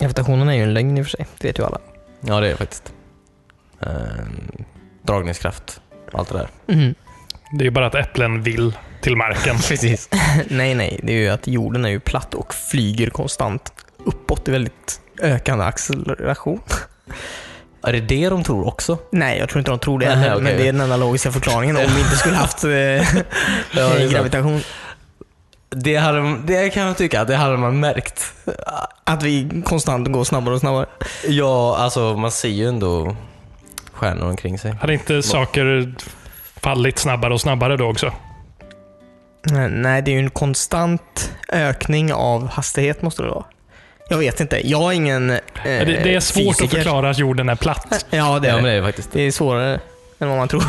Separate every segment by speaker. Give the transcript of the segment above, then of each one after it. Speaker 1: Gravitationen är ju en lögn i och för sig, det vet ju alla.
Speaker 2: Ja, det är det faktiskt. Ehm, dragningskraft, allt det där.
Speaker 1: Mhm.
Speaker 3: Det är ju bara att äpplen vill till marken.
Speaker 2: Precis.
Speaker 1: nej, nej, det är ju att jorden är ju platt och flyger konstant uppåt i väldigt ökande acceleration.
Speaker 2: Är det det de tror också?
Speaker 1: Nej, jag tror inte de tror det
Speaker 2: Nej,
Speaker 1: heller,
Speaker 2: okej.
Speaker 1: men det är den enda logiska förklaringen om vi inte skulle haft eh,
Speaker 2: det är sant.
Speaker 1: gravitation.
Speaker 2: Det, hade, det kan jag tycka att det hade man märkt.
Speaker 1: Att vi konstant går snabbare och snabbare.
Speaker 2: Ja, alltså man ser ju ändå stjärnor omkring sig.
Speaker 3: Hade inte saker fallit snabbare och snabbare då också?
Speaker 1: Nej, Eh, Nej, det är ju en konstant ökning av hastighet måste det vara. Jag vet inte. Jag är ingen eh,
Speaker 3: det, det är svårt
Speaker 1: fysiker. Eh,
Speaker 3: att förklara att jorden är platt.
Speaker 1: Ja, det
Speaker 2: Ja,
Speaker 1: är
Speaker 2: men
Speaker 1: det.
Speaker 2: det är det faktiskt.
Speaker 1: Det är svårare än vad man tror.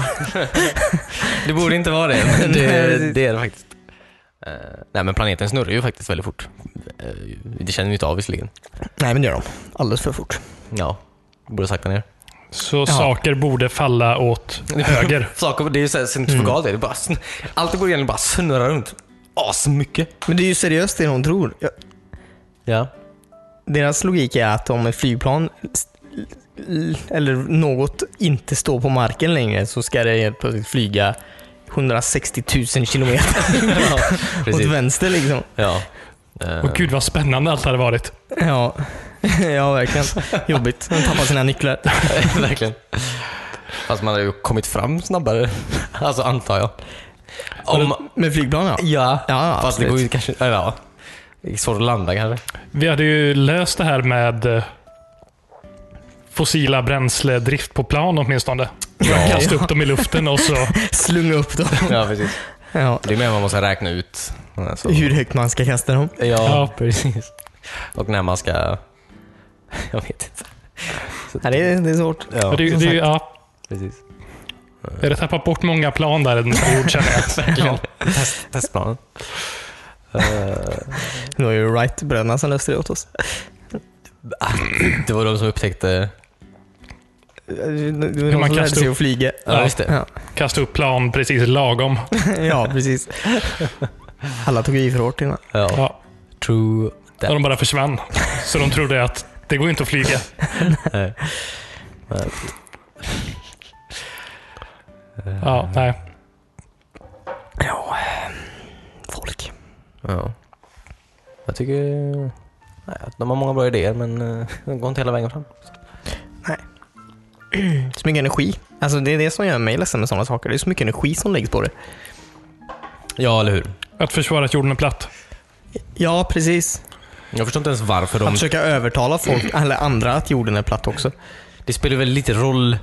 Speaker 2: Det borde inte vara det, men
Speaker 1: Nej,
Speaker 2: det, det är det faktiskt. Eh, nej, men planeten snurrar ju faktiskt väldigt fort. Eh, det känner vi inte av visserligen.
Speaker 1: Nej, men det gör de. Alldeles för fort.
Speaker 2: Ja, borde sakta ner.
Speaker 3: Så saker borde falla åt höger.
Speaker 2: Saker, det är ju såhär centrifugalt. Mm. Bara, sn- allt borde egentligen bara snurra runt asmycket.
Speaker 1: Men det är ju seriöst det de tror. Jag-
Speaker 2: Ja.
Speaker 1: Deras logik är att om ett flygplan s- l- eller något inte står på marken längre så ska det helt plötsligt flyga 160 000 kilometer
Speaker 2: ja
Speaker 1: åt
Speaker 2: precis.
Speaker 1: vänster liksom.
Speaker 2: Ja. Eh,
Speaker 3: Och gud vad spännande allt hade varit.
Speaker 1: Ja, ja verkligen. Jobbigt. De tappar sina nycklar.
Speaker 2: verkligen. Fast man har ju kommit fram snabbare. alltså, antar jag. Om,
Speaker 1: Med flygplan ja.
Speaker 2: ja.
Speaker 1: Ja,
Speaker 2: Fast det
Speaker 1: absolut.
Speaker 2: går ju kanske... eller Ja. Det är svårt att landa kanske.
Speaker 3: Vi hade ju löst det här med eh, fossila bränsledrift på plan åtminstone. Ja. Kasta upp dem i luften och så
Speaker 1: Slunga upp dem.
Speaker 2: Ja, precis.
Speaker 1: Ja.
Speaker 2: Det är mer man måste räkna ut. Alltså,
Speaker 1: Hur högt man ska kasta dem.
Speaker 2: Ja,
Speaker 3: Ja.
Speaker 2: precis. Och när man ska... Jag vet inte. Så-
Speaker 1: Ja, det, är, det är svårt.
Speaker 2: Ja,
Speaker 3: Men det, är ju- det, är ju- ja,
Speaker 2: precis.
Speaker 3: jag hade tappat bort många plan där en period känner jag. Ja.
Speaker 2: Test, testplanen. Eh,
Speaker 1: Det var ju Wright-bröderna som löste det åt oss.
Speaker 2: det var de som upptäckte...
Speaker 1: Hur
Speaker 3: man
Speaker 1: man lärde
Speaker 3: kastar
Speaker 1: sig
Speaker 3: upp-
Speaker 1: att flyga.
Speaker 2: Ja, just det.
Speaker 1: Ja.
Speaker 3: Kasta upp plan precis lagom.
Speaker 1: ja, precis. Alla tog i för hårt innan.
Speaker 2: Ja.
Speaker 3: Ja.
Speaker 2: True
Speaker 3: Och
Speaker 2: that.
Speaker 3: de bara försvann. Så de trodde att det går ju inte att flyga.
Speaker 2: Nej. Nej.
Speaker 3: Ja, nej.
Speaker 1: Ja, folk.
Speaker 2: Ja. Jag tycker... Nej, att de har många bra idéer, men eh, de går inte hela vägen fram.
Speaker 1: Så mycket energi. Alltså det är det som gör mig ledsen med sådana saker. Det är så mycket energi som läggs på det.
Speaker 2: Ja, eller hur?
Speaker 3: Att försvara att jorden är platt.
Speaker 1: Ja, precis.
Speaker 2: Jag förstår inte ens varför
Speaker 1: Att
Speaker 2: de...
Speaker 1: försöka övertala folk, eller andra, att jorden är platt också.
Speaker 2: Det spelar väl lite roll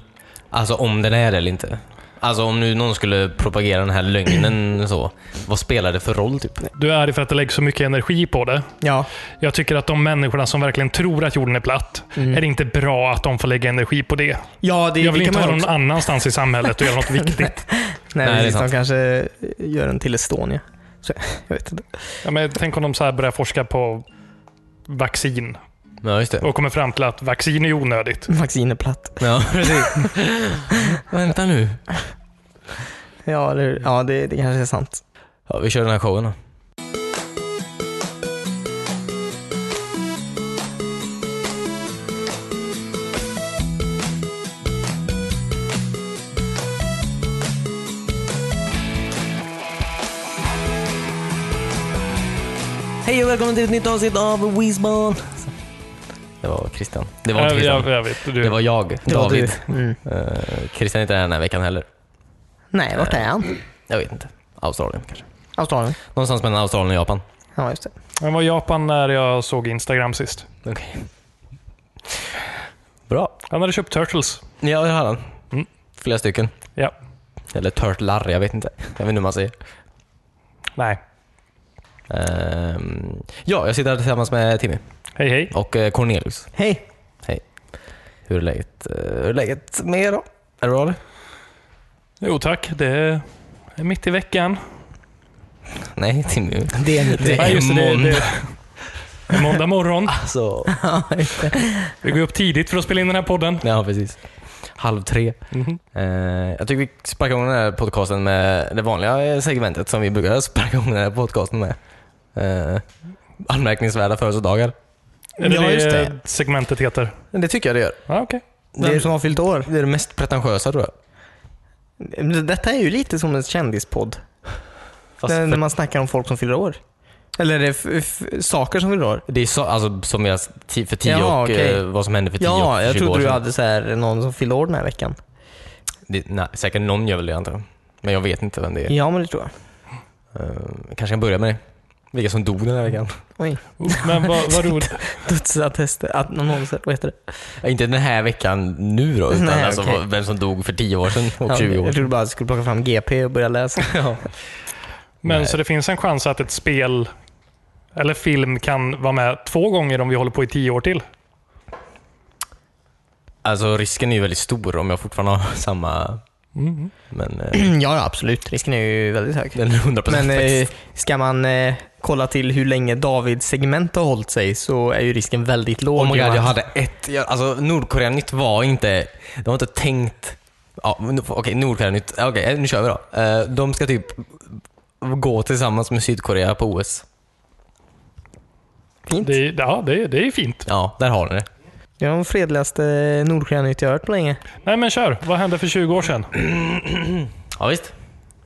Speaker 2: alltså om den är det eller inte. Alltså om nu någon skulle propagera den här lögnen så. Vad spelar det för roll typ?
Speaker 3: Du är arg för att det läggs så mycket energi på det.
Speaker 1: Ja,
Speaker 3: Jag tycker att de människorna som verkligen tror att jorden är platt,
Speaker 1: Mm.
Speaker 2: Mm.
Speaker 3: är det inte bra att de får lägga energi på det.
Speaker 1: ja det,
Speaker 3: Jag vill
Speaker 1: det kan man
Speaker 3: inte vara
Speaker 1: ju
Speaker 3: någon
Speaker 1: också.
Speaker 3: annanstans i samhället och göra något viktigt.
Speaker 1: Nej,
Speaker 2: Nej, det är
Speaker 1: precis. De
Speaker 2: sant.
Speaker 1: kanske gör en till Estonia. Så, jag vet inte.
Speaker 3: Ja, men tänk om de så här börjar forska på vaccin
Speaker 2: Ja, just det.
Speaker 3: och kommer fram till att vaccin är onödigt.
Speaker 1: Vaccin är platt.
Speaker 2: Ja, precis. Vänta nu.
Speaker 1: Ja, det, ja, det, det kanske är sant.
Speaker 2: Ja, vi kör den här showen då. Hej och välkommen till ett nytt avsnitt av Weezbon. Det var Christian. Det var inte
Speaker 3: Jag,
Speaker 2: Christian.
Speaker 3: jag, jag vet, du.
Speaker 2: Det var jag,
Speaker 1: Det var
Speaker 2: David.
Speaker 1: du. Mm.
Speaker 2: Eh, Christian är inte här den här veckan heller.
Speaker 1: Nej, vart är han?
Speaker 2: Jag vet inte. Australien kanske.
Speaker 1: Australien.
Speaker 2: Någonstans mellan Australien och Japan.
Speaker 1: Ja, just det.
Speaker 3: Jag var i Japan när jag såg Instagram sist.
Speaker 2: Okej. Bra.
Speaker 3: Han hade köpt Turtles.
Speaker 2: Ja, det har han.
Speaker 3: Mm.
Speaker 2: Flera stycken.
Speaker 3: Ja.
Speaker 2: Eller turtlar, jag vet inte. Jag vet inte hur man säger.
Speaker 3: Nej.
Speaker 2: Ehm, ja, jag sitter här tillsammans med Timmy
Speaker 3: Hej hej.
Speaker 2: och eh, Cornelius.
Speaker 1: Hej!
Speaker 2: Hur är läget, eh, hur är läget med er då? Är det bra eller?
Speaker 3: Jo tack. Det är mitt i veckan.
Speaker 2: Nej, Timmy.
Speaker 1: Det är mitt
Speaker 2: Det
Speaker 3: Ja,
Speaker 2: är
Speaker 3: just det,
Speaker 2: måndag.
Speaker 3: det, det är måndag morgon.
Speaker 2: Alltså,
Speaker 3: Vi går upp tidigt för att spela in den här podden.
Speaker 2: ja precis. Halv tre.
Speaker 3: Mhm.
Speaker 2: Eh, jag tycker vi sparkar igång den här podcasten med det vanliga segmentet som vi brukar sparka igång den här podcasten med. Eh, anmärkningsvärda Eh, födelsedagar.
Speaker 3: Är det
Speaker 1: Ja, just det.
Speaker 3: det segmentet heter?
Speaker 2: Det tycker jag det gör.
Speaker 3: Ja, okej.
Speaker 2: Vem
Speaker 1: Det-
Speaker 2: som har fyllt år? Det är det mest pretentiösa tror jag.
Speaker 1: Detta är ju lite som en kändispodd.
Speaker 2: Fast
Speaker 1: när,
Speaker 2: för-
Speaker 1: när man snackar om folk som fyller år. Eller är det f- f- saker som fyller år.
Speaker 2: Det är så, alltså, som jag, ti- för tio
Speaker 1: Ja,
Speaker 2: och
Speaker 1: okej.
Speaker 2: eh, vad som hände för tio
Speaker 1: Ja,
Speaker 2: och
Speaker 1: jag
Speaker 2: 20 år
Speaker 1: trodde du
Speaker 2: sedan.
Speaker 1: hade så här, någon som fyllde år den här veckan.
Speaker 2: Det, nej, säkert någon gör väl det antar jag. Men jag vet inte vem det är.
Speaker 1: Ja, men det tror jag.
Speaker 2: Eh, kanske kan börja med det. Vilka som dog den här veckan.
Speaker 1: Oj.
Speaker 3: Men vad, vad roligt.
Speaker 1: Dödsattester. Att någon annonser. Vad heter det?
Speaker 2: Ja, Inte den här veckan nu då, utan
Speaker 1: Nej,
Speaker 2: alltså,
Speaker 1: okej.
Speaker 2: vad- vem som dog för 10 år sedan och
Speaker 1: Ja,
Speaker 2: 20 år
Speaker 1: jag
Speaker 2: sedan.
Speaker 1: trodde bara att du skulle plocka fram GP och börja läsa.
Speaker 3: Men
Speaker 2: Nej.
Speaker 3: så det finns en chans att ett spel eller film kan vara med två gånger om vi håller på i tio år till?
Speaker 2: Alltså risken är ju väldigt stor om jag fortfarande har samma...
Speaker 3: Mm.
Speaker 2: Men eh,
Speaker 1: ja, ja, absolut. Risken är ju väldigt hög.
Speaker 2: den är 100%
Speaker 1: Men eh,
Speaker 2: faktiskt.
Speaker 1: ska man eh, kolla till hur länge Davids segment har hållit sig så är ju risken väldigt låg.
Speaker 2: Oh my god,
Speaker 1: Johan.
Speaker 2: jag hade ett... Jag, alltså Nordkoreanytt var inte... De har inte tänkt... Ja, men, okej, Nordkoreanytt. Okej, eh, nu kör vi då. Eh, de ska typ gå tillsammans med Sydkorea på OS.
Speaker 1: Fint.
Speaker 3: Det, är- ja, det, är- det är fint.
Speaker 2: Ja, där har ni det.
Speaker 1: Det var den fredligaste Nordkoreanytt jag hört på länge.
Speaker 3: Nej men kör, vad hände för 20 år sedan?
Speaker 2: Ja, visst.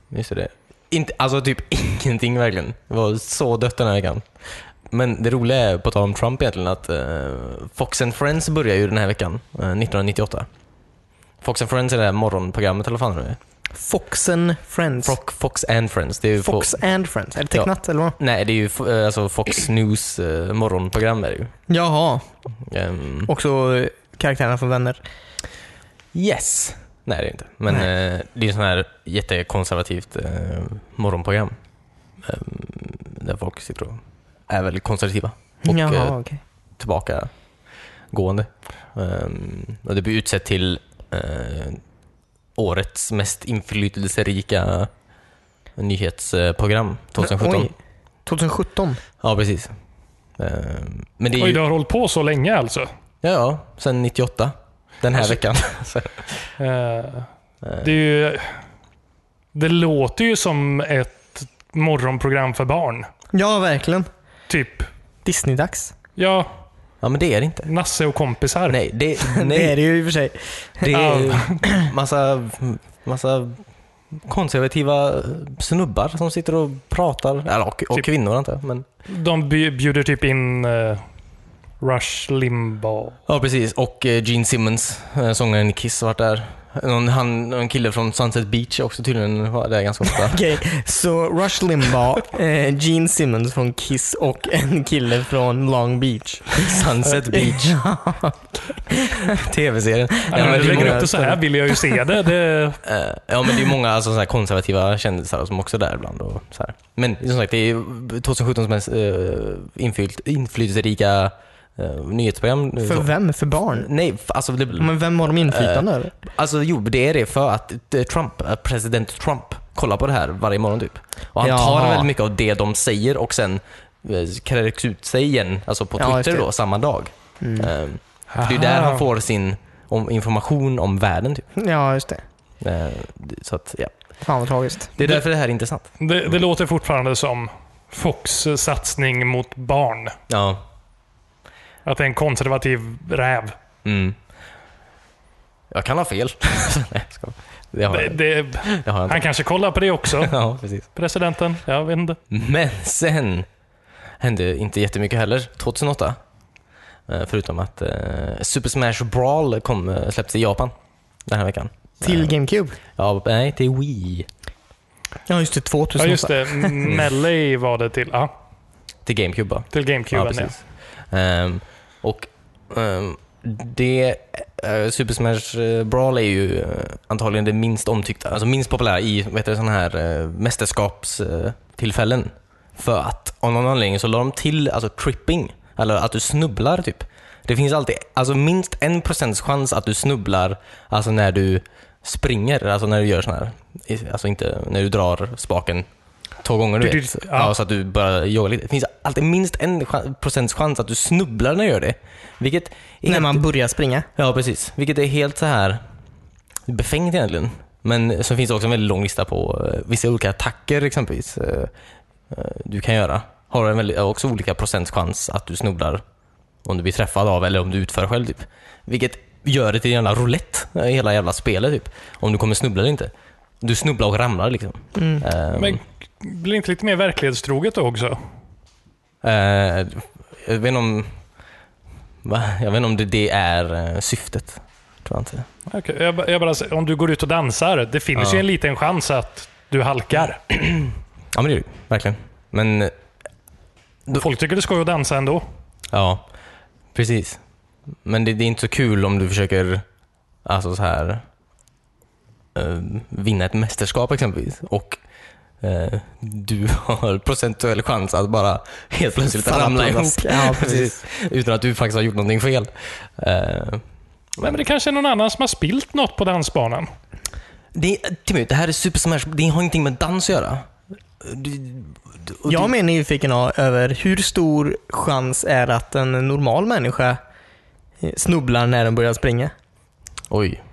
Speaker 2: Just det. Inte, alltså typ ingenting verkligen. Det var så dött den här veckan. Men det roliga är, på tal om Trump egentligen, att eh, Fox and Friends börjar ju den här veckan, eh, 1998. Fox and Friends är det här morgonprogrammet eller vad fan det är.
Speaker 1: Foxen Friends.
Speaker 2: Fox, Fox and Friends. Det är ju på-
Speaker 1: Fox and Friends. Är det tecknat eller vad?
Speaker 2: Nej, det är ju fo- eh, alltså Fox News eh, morgonprogram är det ju.
Speaker 1: Jaha.
Speaker 2: Ehm,
Speaker 1: Också eh, karaktärerna från Vänner.
Speaker 2: yes! Nej, det är inte. Men eh, det är ju sån här jättekonservativt eh, morgonprogram. Ehm, där folk sitter och är väldigt konservativa. Och eh,
Speaker 1: Jaha, okej.
Speaker 2: tillbakagående. Ehm, och det blir utsett till eh, årets mest inflytelserika nyhetsprogram 2017.
Speaker 1: Oj. 2017?
Speaker 2: Ja, precis. Ehm, men det är
Speaker 3: Oj,
Speaker 2: ju,
Speaker 3: du har hållit på så länge alltså.
Speaker 2: Ja, ja. Sen 98. Den här veckan. Så-
Speaker 3: Eh, det, är ju, det låter ju som ett morgonprogram för barn.
Speaker 1: Ja, verkligen.
Speaker 3: Typ,
Speaker 1: Disney-dags.
Speaker 3: ja,
Speaker 2: ja, men det är det inte.
Speaker 3: Nasse och kompisar.
Speaker 2: Nej, det,
Speaker 1: Det är
Speaker 2: nej,
Speaker 1: det ju i och för sig.
Speaker 2: det
Speaker 3: Ja.
Speaker 2: är massa, massa konservativa snubbar som sitter och pratar. Eller, och, och
Speaker 3: Typ.
Speaker 2: kvinnor antar jag. Men,
Speaker 3: De bj- bjuder typ in eh, Rush Limbaugh.
Speaker 2: ja, precis. Och eh, Gene Simmons, eh, sångaren i Kiss, har varit där. Någon, han, en kille från Sunset Beach är också tydligen var där ganska ofta.
Speaker 1: Okej, så Rush Limbaugh, eh, Gene Simmons från Kiss och en kille från Long Beach.
Speaker 2: Sunset Beach, tv-serien.
Speaker 3: Ja,
Speaker 2: men
Speaker 3: men
Speaker 2: det
Speaker 3: du
Speaker 2: är
Speaker 3: lägger
Speaker 2: många-
Speaker 3: upp det så här vill jag ju se det. det
Speaker 2: Eh, ja men det är många alltså, så här konservativa kändisar som också är där ibland. Och, så här. Men som sagt, det är 2017 mest uh, inflytelserika eh, nyhetsprogram. nu.
Speaker 1: För
Speaker 2: Så-
Speaker 1: vem? För barn?
Speaker 2: Nej, f- alltså, det,
Speaker 1: Men vem har de inflytande över?
Speaker 2: alltså jo, det är det för att eh, Trump, eh, president Trump kollar på det här varje morgon typ. Och han
Speaker 1: Jaha.
Speaker 2: tar väldigt mycket av det de säger och sen eh, kräks ut sig igen, alltså på
Speaker 1: Ja,
Speaker 2: Twitter
Speaker 1: just det. Mm.
Speaker 2: då, samma dag. Eh, för det är där han får sin om, information om världen typ.
Speaker 1: Ja, just det.
Speaker 2: Eh, det- så att, ja.
Speaker 1: Fan vad tragiskt.
Speaker 2: Det är därför det här är intressant.
Speaker 3: Det, det låter fortfarande som Fox satsning mot barn.
Speaker 2: Ja.
Speaker 3: Att det är en konservativ räv.
Speaker 2: Mm. Jag kan ha fel. Nej, jag skojar. Det har
Speaker 3: Det,
Speaker 2: jag,
Speaker 3: det,
Speaker 2: det har jag inte.
Speaker 3: han kanske kollar på det också,
Speaker 2: Ja, precis.
Speaker 3: presidenten. Jag vet inte.
Speaker 2: Men sen hände inte jättemycket heller 2008. Eh, Förutom att eh, Super Smash Brawl kom, eh, släpptes i Japan den här veckan.
Speaker 1: Till GameCube?
Speaker 2: Ja, Eh. nej, till Wii.
Speaker 1: Ja, just det.
Speaker 3: Ja,
Speaker 1: 2008.
Speaker 3: just det. Melee var det till. Ja,
Speaker 2: Till GameCube bara.
Speaker 3: till GameCube. Ja,
Speaker 2: Ehm, och ehm, det, eh, Super Smash eh, Brawl är ju eh, antagligen det minst omtyckta, alltså minst populära i vet du, sådana här uh, mästerskapstillfällen. För att av någon anledning så la de till alltså, tripping, eller att du snubblar typ. Det finns alltid alltså, minst en procents chans att du snubblar alltså, när du springer, alltså när du gör sådana här, i- alltså inte när du drar spaken två gånger du
Speaker 3: Du-
Speaker 2: vet.
Speaker 3: du- ja.
Speaker 2: Ja, så att du börjar jogga lite. Det finns alltid minst en chan- procents chans att du snubblar när du gör det. Vilket är
Speaker 1: När
Speaker 2: helt,
Speaker 1: man börjar springa.
Speaker 2: Ja, precis. Vilket är helt så här befängt egentligen. Men så finns det också en väldigt lång lista på eh, vissa olika attacker exempelvis eh, eh, du kan göra. Har en väldigt, också olika procents chans att du snubblar Om du blir träffad av eller om du utför själv typ. Vilket gör det till en jävla roulette, eh, hela jävla spelet typ. Om du kommer snubbla eller inte. Du snubblar och ramlar liksom.
Speaker 1: Mm.
Speaker 2: Ehm,
Speaker 3: Men blir det inte lite mer verklighetstroget då också?
Speaker 2: eh, jag vet inte om... Va? Jag vet inte om det, det är eh, syftet. Tror jag inte.
Speaker 3: Okej, Jag, ba- jag bara, säger, om du går ut och dansar, det finns
Speaker 2: Ja.
Speaker 3: ju en liten chans att du halkar.
Speaker 2: Ja men det är det ju, verkligen. Men eh, Då-
Speaker 3: Folk tycker det ska att dansa ändå.
Speaker 2: Ja, precis. Men det, det är inte så kul om du försöker alltså så här eh, vinna ett mästerskap exempelvis och eh, du har procentuell chans att bara helt plötsligt
Speaker 1: Fan,
Speaker 2: ramla ihop
Speaker 1: pladask. Ja, precis.
Speaker 2: utan att du faktiskt har gjort någonting fel. Eh,
Speaker 3: Nej, men det kanske är någon annan som har spilt något på dansbanan.
Speaker 2: det, Timmy, det här är Super Smash. Det har ingenting med dans att göra. Du, du, och
Speaker 1: Jag är mer nyfiken av- över hur stor chans är att en normal människa eh, snubblar när den börjar springa?
Speaker 2: Oj.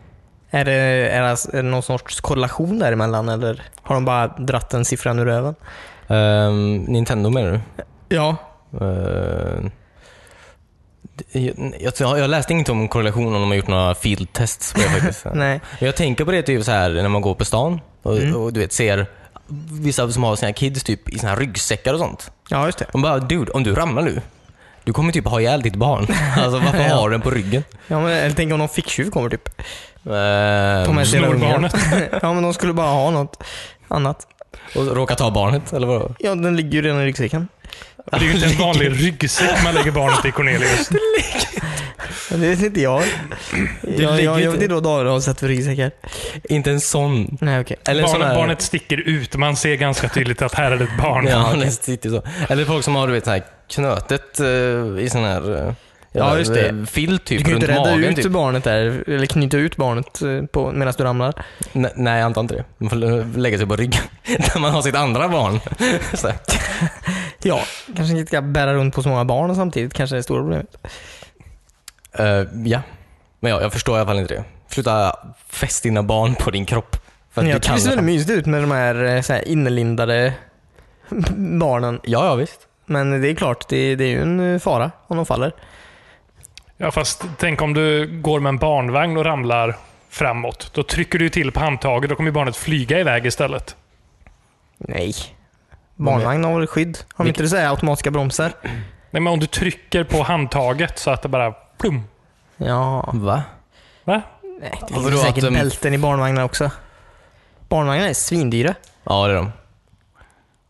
Speaker 1: Är det, är det är det någon sorts korrelation däremellan eller har de bara dratt den siffran ur röven?
Speaker 2: Ehm, Nintendo menar du?
Speaker 1: Ja,
Speaker 2: Eh, jag, jag, jag läste inget om korrelation om de har gjort några field tests på det faktiskt.
Speaker 1: nej. Mm.
Speaker 2: Jag tänker på det typ så här när man går på stan och, och du vet ser vissa som har sina kids typ i sina ryggsäckar och sånt.
Speaker 1: Ja, just det.
Speaker 2: De bara “Dude, om du ramlar nu, du kommer typ ha ihjäl ditt barn. alltså varför
Speaker 1: Ja.
Speaker 2: har du den på ryggen?”
Speaker 1: Ja, men, eller tänk om någon ficktjuv kommer typ. Ta
Speaker 2: Ehm,
Speaker 1: med sig hela
Speaker 3: Snor
Speaker 1: ungen. ja, men de skulle bara ha något annat.
Speaker 2: och råkar ta barnet, eller vadå?
Speaker 1: Ja, den ligger ju redan i ryggsäcken.
Speaker 3: Det är ju inte en vanlig ryggsäck man lägger barnet i Cornelius.
Speaker 1: Men Det vet inte jag. Jag,
Speaker 2: ligger
Speaker 1: jag, jag
Speaker 2: inte-
Speaker 1: vet inte vad David har sett för ryggsäckar.
Speaker 2: Inte en sån.
Speaker 1: Nej, okej.
Speaker 2: Eller en sån
Speaker 3: Barnet,
Speaker 2: här-
Speaker 3: barnet sticker ut. Man ser ganska tydligt att här är det ett barn.
Speaker 2: Ja, det sitter så. Eller folk som har du vet, så här knötet eh, i sån här eh,
Speaker 1: Ja, just det.
Speaker 2: eh, filt
Speaker 1: Du
Speaker 2: typ
Speaker 1: kan ju
Speaker 2: runt
Speaker 1: inte rädda
Speaker 2: magen.
Speaker 1: ut
Speaker 2: Typ.
Speaker 1: barnet där, eller knyta ut barnet eh, på- medan du ramlar.
Speaker 2: Nej, nej, jag antar inte det. Man får eh, lägga sig på ryggen när man har sitt andra barn. så här.
Speaker 1: Ja, kanske inte ska bära runt på så många barn samtidigt. Kanske är det stora problemet.
Speaker 2: Eh, ja, men ja, jag förstår i alla fall inte det. Sluta fäst dina barn på din kropp. För
Speaker 1: Men
Speaker 2: att du
Speaker 1: jag tycker
Speaker 2: kan.
Speaker 1: det ser väldigt mysigt ut med de här, eh, så här inlindade barnen.
Speaker 2: Ja, ja visst.
Speaker 1: Men det är klart, det, det är ju en eh, fara om de faller.
Speaker 3: Ja, fast tänk om du går med en barnvagn och ramlar framåt. Då trycker du ju till på handtaget. Då kommer ju barnet flyga iväg istället.
Speaker 1: Nej. Barnvagn har väl skydd? Har de inte det så här automatiska bromsar?
Speaker 3: Nej, men om du trycker på handtaget så att det bara plum.
Speaker 1: Ja.
Speaker 2: Va?
Speaker 3: Va?
Speaker 1: Nej, det
Speaker 2: Ja,
Speaker 1: finns
Speaker 2: vadå,
Speaker 1: säkert
Speaker 2: att de-
Speaker 1: bälten i barnvagnar också. Barnvagnar är svindyra
Speaker 2: Ja, det är de.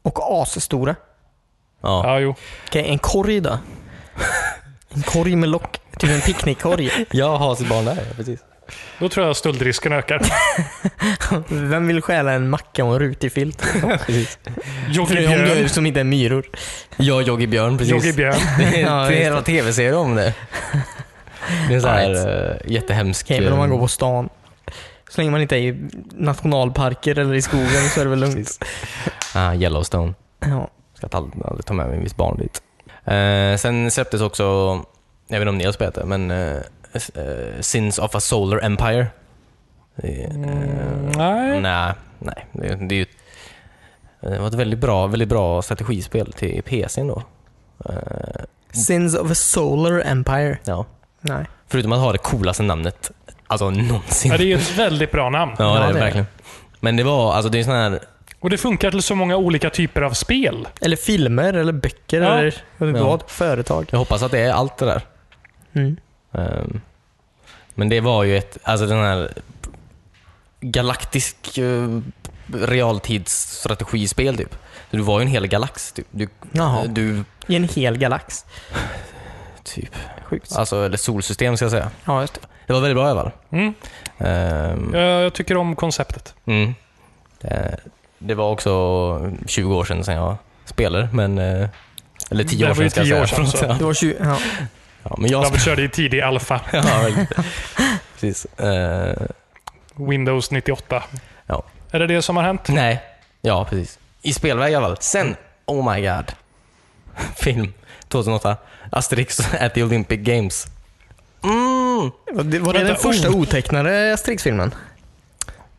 Speaker 1: och asstora.
Speaker 2: Ja.
Speaker 3: Ja, jo.
Speaker 1: Okej, en korg då? En korg med lock. Typ en picknickkorg.
Speaker 2: Jag har sitt barn där, precis.
Speaker 3: Då tror jag stöldrisken ökar.
Speaker 1: Vem vill stjäla en macka och en rutig filt?
Speaker 2: precis.
Speaker 1: För det
Speaker 3: Jogge
Speaker 1: är de djur
Speaker 3: Björn.
Speaker 1: som inte är myror.
Speaker 2: Jag, Jogge Björn, precis.
Speaker 3: Jogge Björn.
Speaker 2: Det är
Speaker 1: Ja,
Speaker 2: det är
Speaker 1: just
Speaker 2: en hel tv-serie om det. Det är en sån här eh, jättehemsk...
Speaker 1: Okej, men om man
Speaker 2: eh,
Speaker 1: går på stan. Så länge man inte är i nationalparker eller i skogen så är det väl lugnt.
Speaker 2: Ah, Yellowstone.
Speaker 1: Ja.
Speaker 2: Ska ta- aldrig ta med mig mitt barn dit. Eh, sen släpptes också, jag vet inte om ni har spelat det, men eh, s- eh, Sins of a Solar Empire. Det, eh,
Speaker 3: Nej.
Speaker 2: Nej, nej. Det, det, är ju, eh, det var ett väldigt bra, väldigt bra strategispel till PC då. Eh,
Speaker 1: Sins of a Solar Empire.
Speaker 2: ja.
Speaker 1: Nej.
Speaker 2: Förutom att ha det coolaste namnet alltså någonsin.
Speaker 3: Ja, det är ju ett väldigt bra namn.
Speaker 2: Ja,
Speaker 1: Ja,
Speaker 2: det är
Speaker 1: det är
Speaker 2: verkligen. Men det var, alltså det är sån här
Speaker 3: Och det funkar till så många olika typer av spel.
Speaker 1: Eller filmer, eller böcker,
Speaker 3: Ja.
Speaker 1: eller jag vet inte
Speaker 2: Ja.
Speaker 1: vad. Företag.
Speaker 2: Jag hoppas att det är allt det där.
Speaker 1: Mm.
Speaker 2: Ehm, Men det var ju ett, alltså den här galaktisk eh, realtidsstrategispel typ. Så Du var ju en hel galax typ. Du,
Speaker 1: Jaha.
Speaker 2: du
Speaker 1: I en hel galax.
Speaker 2: typ,
Speaker 1: Sjukt.
Speaker 2: alltså eller solsystem ska jag säga.
Speaker 1: Ja, just det.
Speaker 2: Det var väldigt bra i alla fall.
Speaker 3: Mm.
Speaker 2: Ehm,
Speaker 3: Jag, jag tycker om konceptet.
Speaker 2: mm. Eh, Det var också 20 år sedan, sedan jag spelade, men eh, eller 10
Speaker 3: Det
Speaker 2: år
Speaker 3: var ju
Speaker 2: sedan ska jag
Speaker 3: 10
Speaker 2: säga.
Speaker 3: år sedan, så.
Speaker 2: Ja.
Speaker 1: Det var 20... Ja.
Speaker 2: Ja, men jag
Speaker 3: David körde i tidig alfa.
Speaker 2: ja, verkligen. Precis. Eh,
Speaker 3: Windows 98.
Speaker 2: Ja.
Speaker 3: Är det det som har hänt?
Speaker 2: Nej. Ja, precis. I spelväg i alla fall. Sen, oh my god. Film 2008. Asterix at the Olympic Games. Mm.
Speaker 1: Var det, var det
Speaker 3: Vänta,
Speaker 1: den första otecknade Asterix-filmen?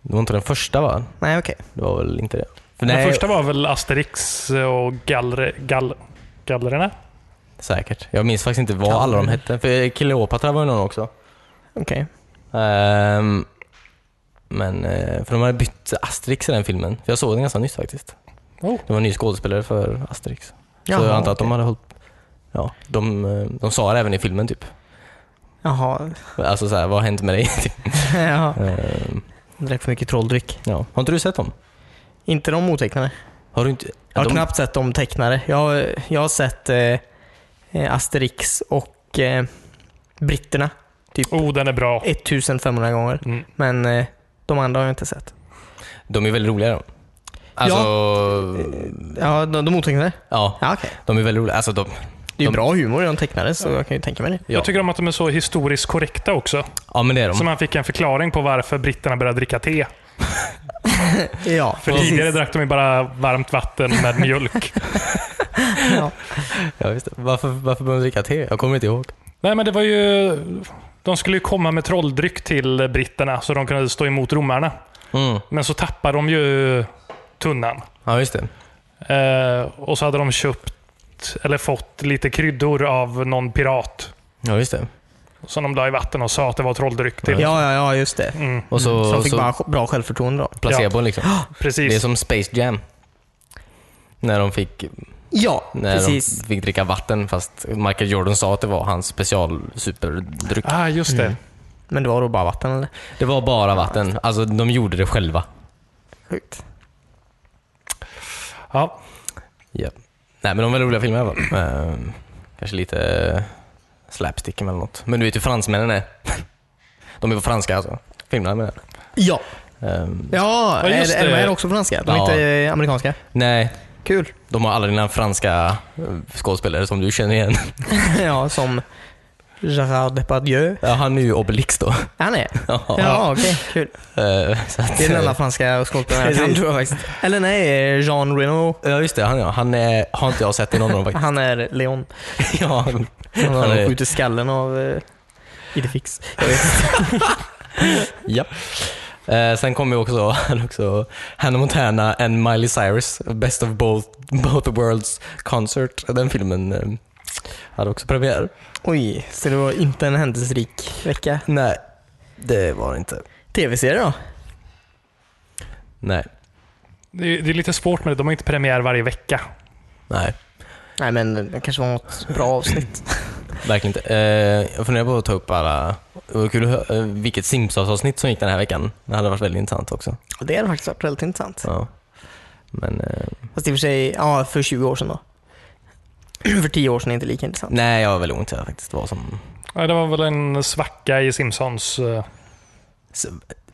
Speaker 2: Det var inte den första va?
Speaker 1: Nej, okej.
Speaker 2: Det var väl inte det? För
Speaker 3: Den
Speaker 2: nej,
Speaker 3: första var väl Asterix och gallre, gall, gallerna?
Speaker 2: Säkert. Jag minns faktiskt inte vad alla de hette. För Kleopatra var ju någon också.
Speaker 1: Okej.
Speaker 2: Ehm, men, eh, för de hade bytt Asterix i den filmen. För jag såg den ganska nyss faktiskt.
Speaker 3: Oh.
Speaker 2: Det var en ny skådespelare för Asterix.
Speaker 1: Jaha,
Speaker 2: så jag antar att de
Speaker 1: okej.
Speaker 2: hade hållit... Ja, de, eh, de sa det även i filmen typ.
Speaker 1: Jaha.
Speaker 2: Alltså såhär, vad har hänt med dig? Typ.
Speaker 1: Jaha.
Speaker 2: Ehm,
Speaker 1: Drack för mycket trolldryck.
Speaker 2: ja. Har inte du sett dem?
Speaker 1: Inte de otecknade.
Speaker 2: Har du inte...
Speaker 1: Jag har
Speaker 2: de,
Speaker 1: knappt sett de tecknade. Jag, har- jag har sett eh, eh, Asterix och eh, britterna. Typ
Speaker 3: Oh, den är bra.
Speaker 1: 1500 gånger.
Speaker 3: Mm.
Speaker 1: Men eh, de andra har jag inte sett.
Speaker 2: de är väldigt roliga de. Alltså...
Speaker 1: Ja, de, de otecknade?
Speaker 2: Ja,
Speaker 1: Ja, okej.
Speaker 2: de är väldigt roliga. Alltså de...
Speaker 1: Det är ju
Speaker 2: De-
Speaker 1: bra humor i de tecknade, så jag kan ju tänka mig det.
Speaker 2: Ja.
Speaker 3: Jag tycker om att de är så historiskt korrekta också.
Speaker 2: Ja men det är de.
Speaker 3: Så man fick en förklaring på varför britterna började dricka te.
Speaker 1: Ja,
Speaker 3: För
Speaker 1: precis.
Speaker 3: tidigare drack de ju bara varmt vatten med mjölk.
Speaker 1: Ja.
Speaker 2: Ja, visst. Varför, varför började de dricka te? Jag kommer inte ihåg.
Speaker 3: Nej, men det var ju... De skulle ju komma med trolldryck till britterna så de kunde stå emot romarna.
Speaker 2: Mm.
Speaker 3: Men så tappade de ju tunnan.
Speaker 2: Ja, just det.
Speaker 3: Eh, och så hade de köpt eller fått lite kryddor av någon pirat
Speaker 2: Ja, just det.
Speaker 3: som de la i vatten och sa att det var trolldryck till.
Speaker 1: ja, ja, ja, just det.
Speaker 3: Mm,
Speaker 2: Och så,
Speaker 1: Så de fick
Speaker 2: så
Speaker 1: bara bra självförtroende då.
Speaker 2: placebon liksom. Det är
Speaker 3: precis.
Speaker 2: som Space Jam. När de fick,
Speaker 1: Ja,
Speaker 2: när
Speaker 1: precis.
Speaker 2: de fick dricka vatten fast Michael Jordan sa att det var hans special superdryck.
Speaker 3: Ah, just
Speaker 2: Mm.
Speaker 3: det.
Speaker 1: Men det var då bara vatten eller?
Speaker 2: Det var bara vatten. Alltså de gjorde det själva.
Speaker 1: Sjukt.
Speaker 3: Ja.
Speaker 2: Ja. Nej men de var roliga filmer i alla fall. Ehm, Kanske lite eh, slapstick eller något. Men du vet hur fransmännen är. De är på franska alltså. Filmerna menar
Speaker 1: Ja.
Speaker 2: jag. Ehm,
Speaker 1: Ja,
Speaker 3: Ja,
Speaker 1: är,
Speaker 3: just
Speaker 1: är de
Speaker 3: det.
Speaker 1: här också franska? De är
Speaker 2: Ja.
Speaker 1: inte eh, amerikanska?
Speaker 2: Nej,
Speaker 1: Kul.
Speaker 2: de har alla dina franska eh, skådespelare som du känner igen.
Speaker 1: ja, som Gerard Depardieu.
Speaker 2: Ja, han är ju Obelix då.
Speaker 1: Han är?
Speaker 2: Ja.
Speaker 1: Ja, okej. Kul.
Speaker 2: Eh, så att,
Speaker 1: Det är den enda franska skådespelaren jag kan,
Speaker 2: Precis.
Speaker 1: tror jag faktiskt. Eller nej, eh, Jean Reno.
Speaker 2: Ja just det, han ja. Han är, har inte jag sett i någon av dem faktiskt.
Speaker 1: Han är Leon.
Speaker 2: ja.
Speaker 1: Han
Speaker 2: Han är-
Speaker 1: har skjutit skallen av eh, Idefix. Jag vet.
Speaker 2: ja. Eh, sen kommer ju också, han också Hannah Montana and Miley Cyrus, Best of both, both Worlds Concert. Den filmen eh, hade också premiär.
Speaker 1: Oj, så det var inte en händelserik vecka.
Speaker 2: Nej, det var det inte.
Speaker 1: Tv-serie då?
Speaker 2: Nej.
Speaker 3: Det är, det är lite svårt med det. De har inte premiär varje vecka.
Speaker 2: Nej,
Speaker 1: Nej men det kanske var något bra avsnitt.
Speaker 2: verkligen inte. Eh, jag funderar på att ta upp alla... Det var kul att hö- eh, vilket Simpsons-avsnitt som gick den här veckan. Det hade varit väldigt intressant också.
Speaker 1: Och det hade faktiskt varit väldigt intressant.
Speaker 2: Ja. Men eh,
Speaker 1: Fast i och för sig, ja för 20 år sedan då. för 10 år sedan är inte lika intressant.
Speaker 2: nej, jag var väldigt ointresserad faktiskt. Vad som
Speaker 3: Ja, Det var väl en svacka i Simpsons. eh,
Speaker 2: S-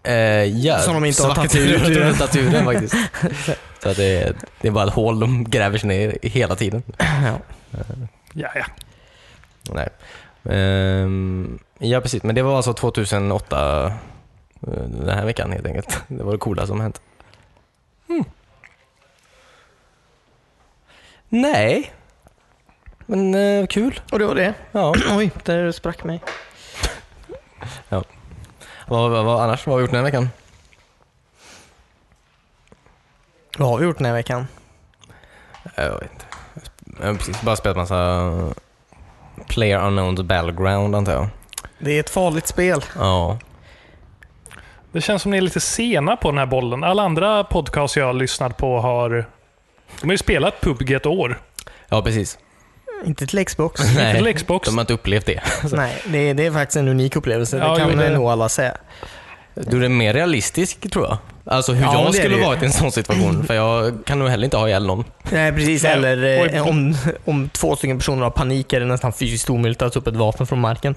Speaker 2: eh, ja,
Speaker 1: Som de inte har tagit
Speaker 2: svartaturen-
Speaker 1: ut ur.
Speaker 2: taturen faktiskt. Så att det, är- det är bara ett hål de gräver sig ner i hela tiden.
Speaker 1: Ja.
Speaker 3: Ja, ja.
Speaker 2: Nej. Ehm, ja, precis. Men det var alltså 2008, eh, den här veckan helt enkelt. Det var det coola som hänt. Hmm. Nej, men eh, kul.
Speaker 1: Och det var det.
Speaker 2: Ja.
Speaker 1: Oj, där sprack mig.
Speaker 2: Vad, vad, vad annars? Vad har vi gjort den här veckan?
Speaker 1: Vad har vi gjort den här veckan?
Speaker 2: Eh, Jag vet inte. Jag har precis bara spelat massa Player Unknowns Battleground antar jag.
Speaker 1: Det är ett farligt spel.
Speaker 2: Ja.
Speaker 3: Det känns som ni är lite sena på den här bollen. Alla andra podcasts jag har lyssnat på har... De har ju spelat PubG ett år.
Speaker 2: Ja, precis.
Speaker 1: Inte till Xbox.
Speaker 3: Inte
Speaker 2: Nej,
Speaker 3: till Xbox.
Speaker 2: de har inte upplevt det.
Speaker 1: Nej, det, det är faktiskt en unik upplevelse.
Speaker 3: Ja,
Speaker 1: det kan
Speaker 3: jo, det-
Speaker 1: nog alla säga.
Speaker 2: Du är mer realistisk tror jag. Alltså hur
Speaker 1: Ja, det är
Speaker 2: jag
Speaker 1: det
Speaker 2: skulle
Speaker 1: ju.
Speaker 2: varit i en sån situation. För jag kan nog heller inte ha ihjäl någon.
Speaker 1: Nej, precis.
Speaker 3: Nej.
Speaker 1: Eller eh,
Speaker 3: Oj.
Speaker 1: om, om två stycken personer har panik är det nästan fysiskt omöjligt att ta upp ett vapen från marken.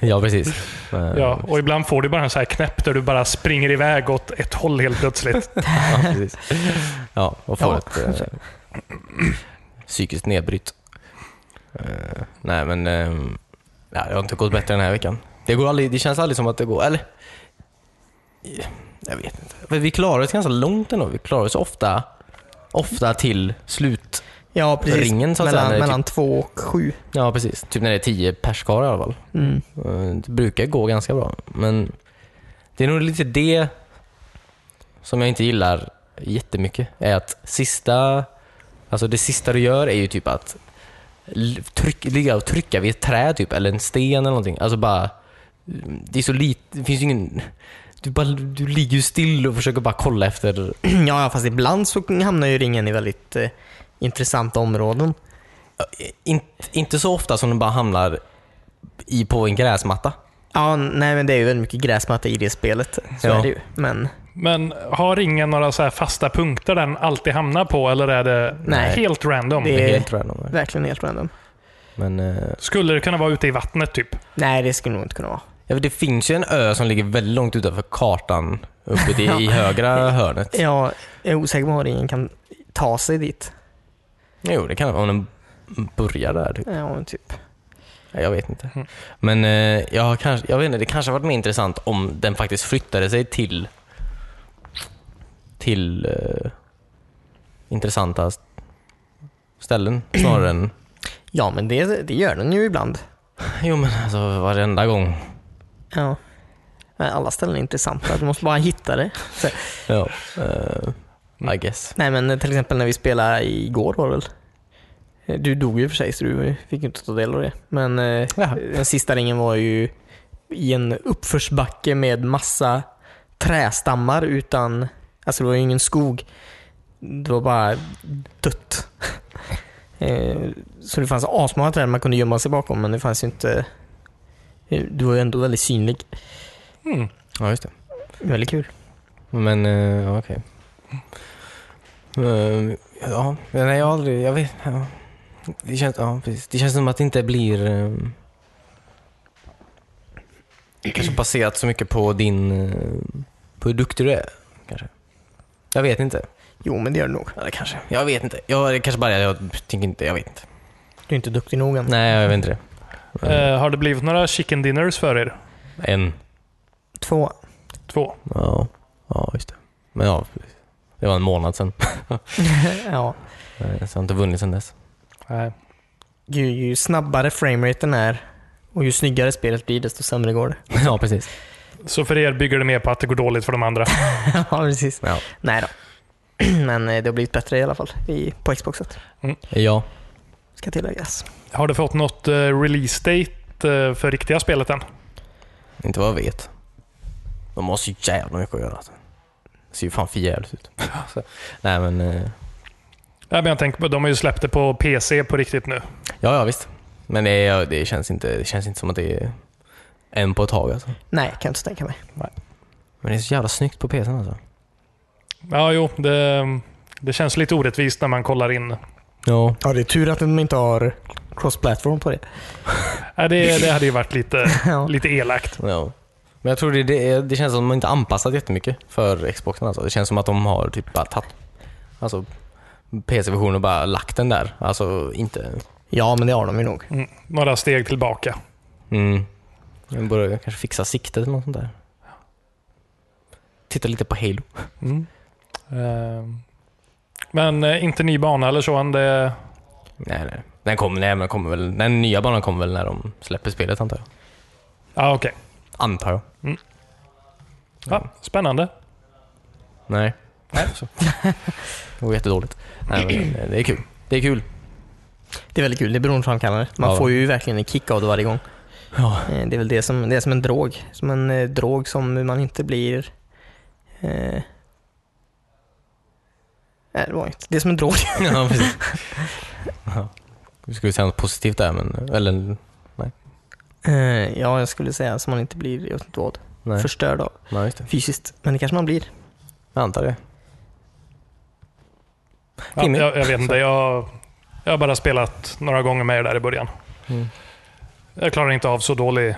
Speaker 2: Ja, precis. Men-
Speaker 3: Ja, och ibland får du bara en så här knäpp där du bara springer iväg åt ett håll helt plötsligt.
Speaker 2: Ja, precis. Ja, och få
Speaker 1: Ja,
Speaker 2: ett eh, psykiskt nedbrytt. Eh, nej, men eh, ja, det har inte gått bättre den här veckan. Det, går aldrig, det känns aldrig som att det går, eller? Jag vet inte. Men vi klarar oss ganska långt ändå. Vi klarar oss ofta, ofta till slut.
Speaker 1: Ja, precis.
Speaker 2: Ringen, så att
Speaker 1: mellan,
Speaker 2: säga, typ- när det är
Speaker 1: mellan två och sju.
Speaker 2: Ja, precis. Typ när det är tio pers kvar i alla fall.
Speaker 1: Mm.
Speaker 2: Eh, Det brukar gå ganska bra, men det är nog lite det som jag inte gillar jättemycket. Är att sista, alltså det sista du gör är ju typ att l- tryck, ligga och trycka vid ett träd typ, eller en sten eller någonting. Alltså bara... Det är så lite... Det finns ju ingen... Du, bara, du ligger ju still och försöker bara kolla efter...
Speaker 1: Ja, ja, fast ibland så hamnar ju ringen i väldigt eh, intressanta områden.
Speaker 2: eh, In, inte så ofta som den bara hamnar i, på en gräsmatta.
Speaker 1: Ja, nej men det är ju väldigt mycket gräsmatta i det spelet. Så
Speaker 2: Ja.
Speaker 1: är det ju. Men
Speaker 3: Men har ringen några så här fasta punkter den alltid hamnar på eller är det
Speaker 1: Nej.
Speaker 3: helt random?
Speaker 1: Det-
Speaker 2: Det är helt random.
Speaker 1: verkligen helt random.
Speaker 2: Men, eh,
Speaker 3: Skulle det kunna vara ute i vattnet typ?
Speaker 1: Nej, det skulle nog inte kunna vara.
Speaker 2: ja, det finns ju en ö som ligger väldigt långt utanför kartan. Uppe i, i högra hörnet.
Speaker 1: Jag är osäker på om ringen kan ta sig dit.
Speaker 2: Jo, det kan det vara. Om den börjar där. Typ.
Speaker 1: Ja, men typ.
Speaker 2: Nej, Jag vet inte.
Speaker 3: Mm.
Speaker 2: Men eh, jag, har kanske, jag vet inte, det kanske hade varit mer intressant om den faktiskt flyttade sig till till eh, intressanta st- ställen snarare än...
Speaker 1: Ja, men det, det gör den ju ibland.
Speaker 2: Jo men alltså varenda gång.
Speaker 1: Ja. Men alla ställen är intressanta. Du måste bara hitta det. Så,
Speaker 2: Ja, eh, I guess.
Speaker 1: nej, men till exempel när vi spelade igår var det väl? Eh, Du dog ju för sig, så du fick ju inte ta del av det. Men eh,
Speaker 2: Ja.
Speaker 1: den sista ringen var ju i en uppförsbacke med massa trästammar utan... Alltså det var ju ingen skog. Det var bara dött. Eh, så det fanns asmånga träd man kunde gömma sig bakom, men det fanns ju inte... Eh, Du var ju ändå väldigt synlig.
Speaker 3: Mm.
Speaker 2: Ja, just det.
Speaker 1: Väldigt kul.
Speaker 2: Men eh, ja, okej. Eh, ja, nej, jag har aldrig... Jag vet, ja. det, känns, ja, precis. det känns som att det inte blir... ehm, kanske baserat så mycket på din... eh, på hur duktig du är. Kanske. Jag vet inte.
Speaker 1: Jo, men det gör det nog.
Speaker 2: Eller kanske. Jag vet inte. Jag, det kanske bara jag tänker inte. Jag vet inte.
Speaker 1: Du är inte duktig nog än.
Speaker 2: Nej, jag vet inte det.
Speaker 3: Eh, har det blivit några chicken dinners för er?
Speaker 2: En.
Speaker 1: Två.
Speaker 3: Två.
Speaker 2: Ja, ja just det. Men ja, precis. det var en månad sedan.
Speaker 1: ja.
Speaker 2: Eh, Så jag har inte vunnit sedan dess.
Speaker 3: Nej.
Speaker 1: ju, ju snabbare frameraten är och ju snyggare spelet blir, desto sämre går det.
Speaker 2: ja, precis.
Speaker 3: Så för er bygger det mer på att det går dåligt för de andra?
Speaker 1: ja, precis.
Speaker 2: Ja.
Speaker 1: Nej då. Men eh, det har blivit bättre i alla fall i, på Xboxet,
Speaker 2: ja.
Speaker 1: ska tilläggas.
Speaker 3: Har du fått något eh, release date eh, för riktiga spelet än?
Speaker 2: Inte vad jag vet. De har så jävla mycket att göra. Alltså. Det ser ju fan för jävligt ut. Alltså, nej men... eh,
Speaker 3: Ja, men jag tänker på, de har ju släppt det på PC på riktigt nu.
Speaker 2: Ja, ja visst. Men det, är- det, känns inte, det känns inte som att det är en på ett tag alltså.
Speaker 1: Nej, kan jag inte tänka mig.
Speaker 2: Men det är så jävla snyggt på PCn alltså.
Speaker 3: Ja, jo. Det, det känns lite orättvist när man kollar in.
Speaker 2: Ja.
Speaker 1: Ja, det är tur att de inte har cross-platform på det.
Speaker 3: Ja, det, det hade ju varit lite,
Speaker 1: Ja.
Speaker 3: lite elakt.
Speaker 2: ja. Men jag tror det, det, är- det känns som att de inte har anpassat jättemycket för Xboxen alltså. Det känns som att de har typ bara tagit alltså, PC-versionen och bara lagt den där. Alltså inte...
Speaker 1: Ja, men det har de ju nog.
Speaker 3: Mm. Några steg tillbaka.
Speaker 2: Mm. Jag borde kanske fixa siktet eller något sånt där. Titta lite på Halo.
Speaker 3: Mm. Eh, Men eh, inte ny bana eller så än. Det,
Speaker 2: Nej, nej. Den kommer, nej, men den kommer väl, den nya banan kommer väl när de släpper spelet antar jag.
Speaker 3: ja, okej.
Speaker 2: Antar jag.
Speaker 3: Ja, spännande.
Speaker 2: Nej. nej så. Det var jättedåligt. Nej, men eh, det är kul. Det är kul.
Speaker 1: Det är väldigt kul. Det är beroendeframkallande. Man
Speaker 2: Ja.
Speaker 1: får ju verkligen en kick av det varje gång.
Speaker 2: Ja.
Speaker 1: Eh, Det är väl det som, det är som en drog. Som en eh, drog som man inte blir... Eh, nej, det var inte. Det är som en drog.
Speaker 2: ja, precis. Ja. Vi skulle säga något positivt där, men... Eller
Speaker 1: Eh, ja, jag skulle säga som man inte blir, jag vet inte vad,
Speaker 2: nej.
Speaker 1: förstörd av
Speaker 2: nej, just det.
Speaker 1: fysiskt. Men det kanske man blir.
Speaker 2: Jag antar det.
Speaker 3: Ja,
Speaker 2: Timmy?
Speaker 3: jag, jag vet inte. Jag, jag har bara spelat några gånger med er där i början.
Speaker 2: Mm.
Speaker 3: Jag klarar inte av så dålig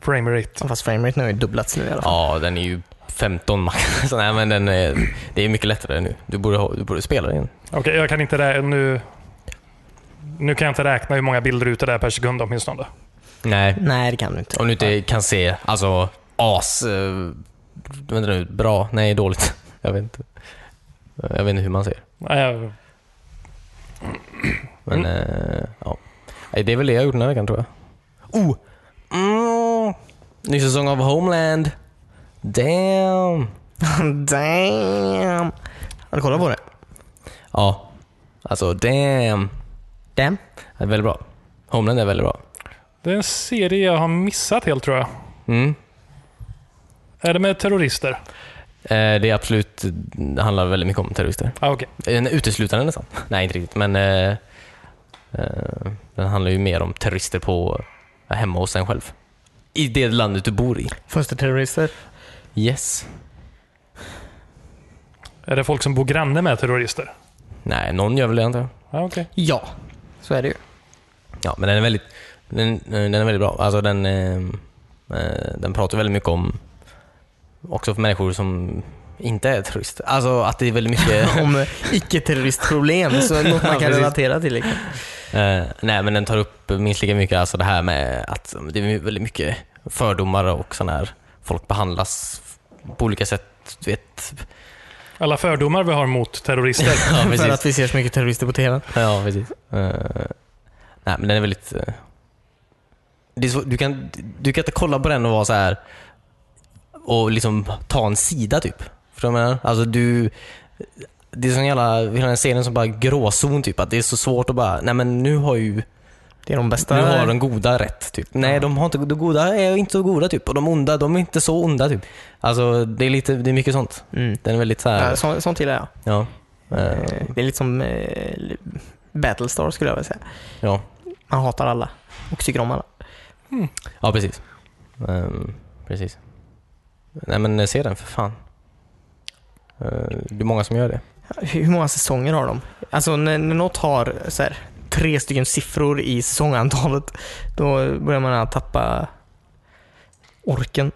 Speaker 3: frame rate.
Speaker 1: Fast frameraten har ju dubblats nu i alla fall.
Speaker 2: Ja, den är ju 15 max. Så nej, men den är, det är mycket lättare nu. Du borde, ha, du borde spela den igen.
Speaker 3: Okej, jag kan inte rä- nu, nu kan jag inte räkna hur många bilder det är per sekund åtminstone.
Speaker 2: Nej,
Speaker 1: Nej, det kan du inte.
Speaker 2: Om du inte kan se, alltså as... Uh, vänta nu, bra? Nej, dåligt. Jag vet inte. Jag vet inte hur man ser.
Speaker 3: Nej, jag-
Speaker 2: Men eh, ja. Nej, Det är väl det jag gjort den här veckan tror jag. Oh! Mm. Ny säsong av Homeland. Damn!
Speaker 1: damn! Har du kollat på det?
Speaker 2: Ja. Alltså damn.
Speaker 1: Damn.
Speaker 2: Det är väldigt bra. Homeland är väldigt bra.
Speaker 3: Det är en serie jag har missat helt tror jag.
Speaker 2: Mm.
Speaker 3: Är det med terrorister?
Speaker 2: Eh, Det är absolut, det handlar väldigt mycket om terrorister.
Speaker 3: Ah, okej.
Speaker 2: En uteslutande nästan. Nej, inte riktigt. Men eh, eh, den handlar ju mer om terrorister på eh, hemma hos en själv. I det landet du bor i.
Speaker 1: Fönsterterrorister.
Speaker 2: Yes.
Speaker 3: Är det folk som bor granne med terrorister?
Speaker 2: Nej, någon gör väl det antar jag.
Speaker 3: Ah, okej.
Speaker 1: Ja, så är det ju.
Speaker 2: Ja, men den är väldigt, den, eh, den är väldigt bra. Alltså den, eh, eh, den pratar väldigt mycket om, också för människor som inte är terrorister. Alltså att det är väldigt mycket
Speaker 1: Om eh, icke-terroristproblem, så något man
Speaker 2: Ja,
Speaker 1: kan
Speaker 2: precis.
Speaker 1: relatera till. Liksom.
Speaker 2: Eh, nej, men den tar upp minst lika mycket alltså det här med att det är väldigt mycket fördomar och sådana här. Folk behandlas på olika sätt. Du vet.
Speaker 3: Alla fördomar vi har mot terrorister.
Speaker 2: Ja,
Speaker 1: För
Speaker 2: precis.
Speaker 1: att vi ser så mycket terrorister på TV.
Speaker 2: Ja, precis. Eh, nej, men den är väldigt... eh, det är så, du, kan, du kan inte kolla på den och vara så här och liksom ta en sida typ. Förstår du vad jag menar? Alltså du... Det är sån jävla, hela den här serien som bara gråzon typ. Att det är så svårt att bara, nej men nu har ju
Speaker 1: Det är de bästa.
Speaker 2: Nu har de goda rätt, typ. Nej, de, har inte, de goda är inte så goda, typ. Och de onda, de är inte så onda, typ. Alltså, det är, lite, det är mycket sånt.
Speaker 1: Mm.
Speaker 2: Den är väldigt så
Speaker 1: Ja,
Speaker 2: här,
Speaker 1: så, sånt gillar jag.
Speaker 2: ja. Eh,
Speaker 1: Eh, Det är lite som eh, Battlestar skulle jag vilja säga.
Speaker 2: ja.
Speaker 1: Man hatar alla och tycker om alla.
Speaker 2: Ja, precis. Ehm, precis. Nej, men eh, se den för fan. Eh, det är många som gör det.
Speaker 1: Hur många säsonger har de? Alltså när, när något har så här, tre stycken siffror i säsongantalet, då börjar man tappa orken.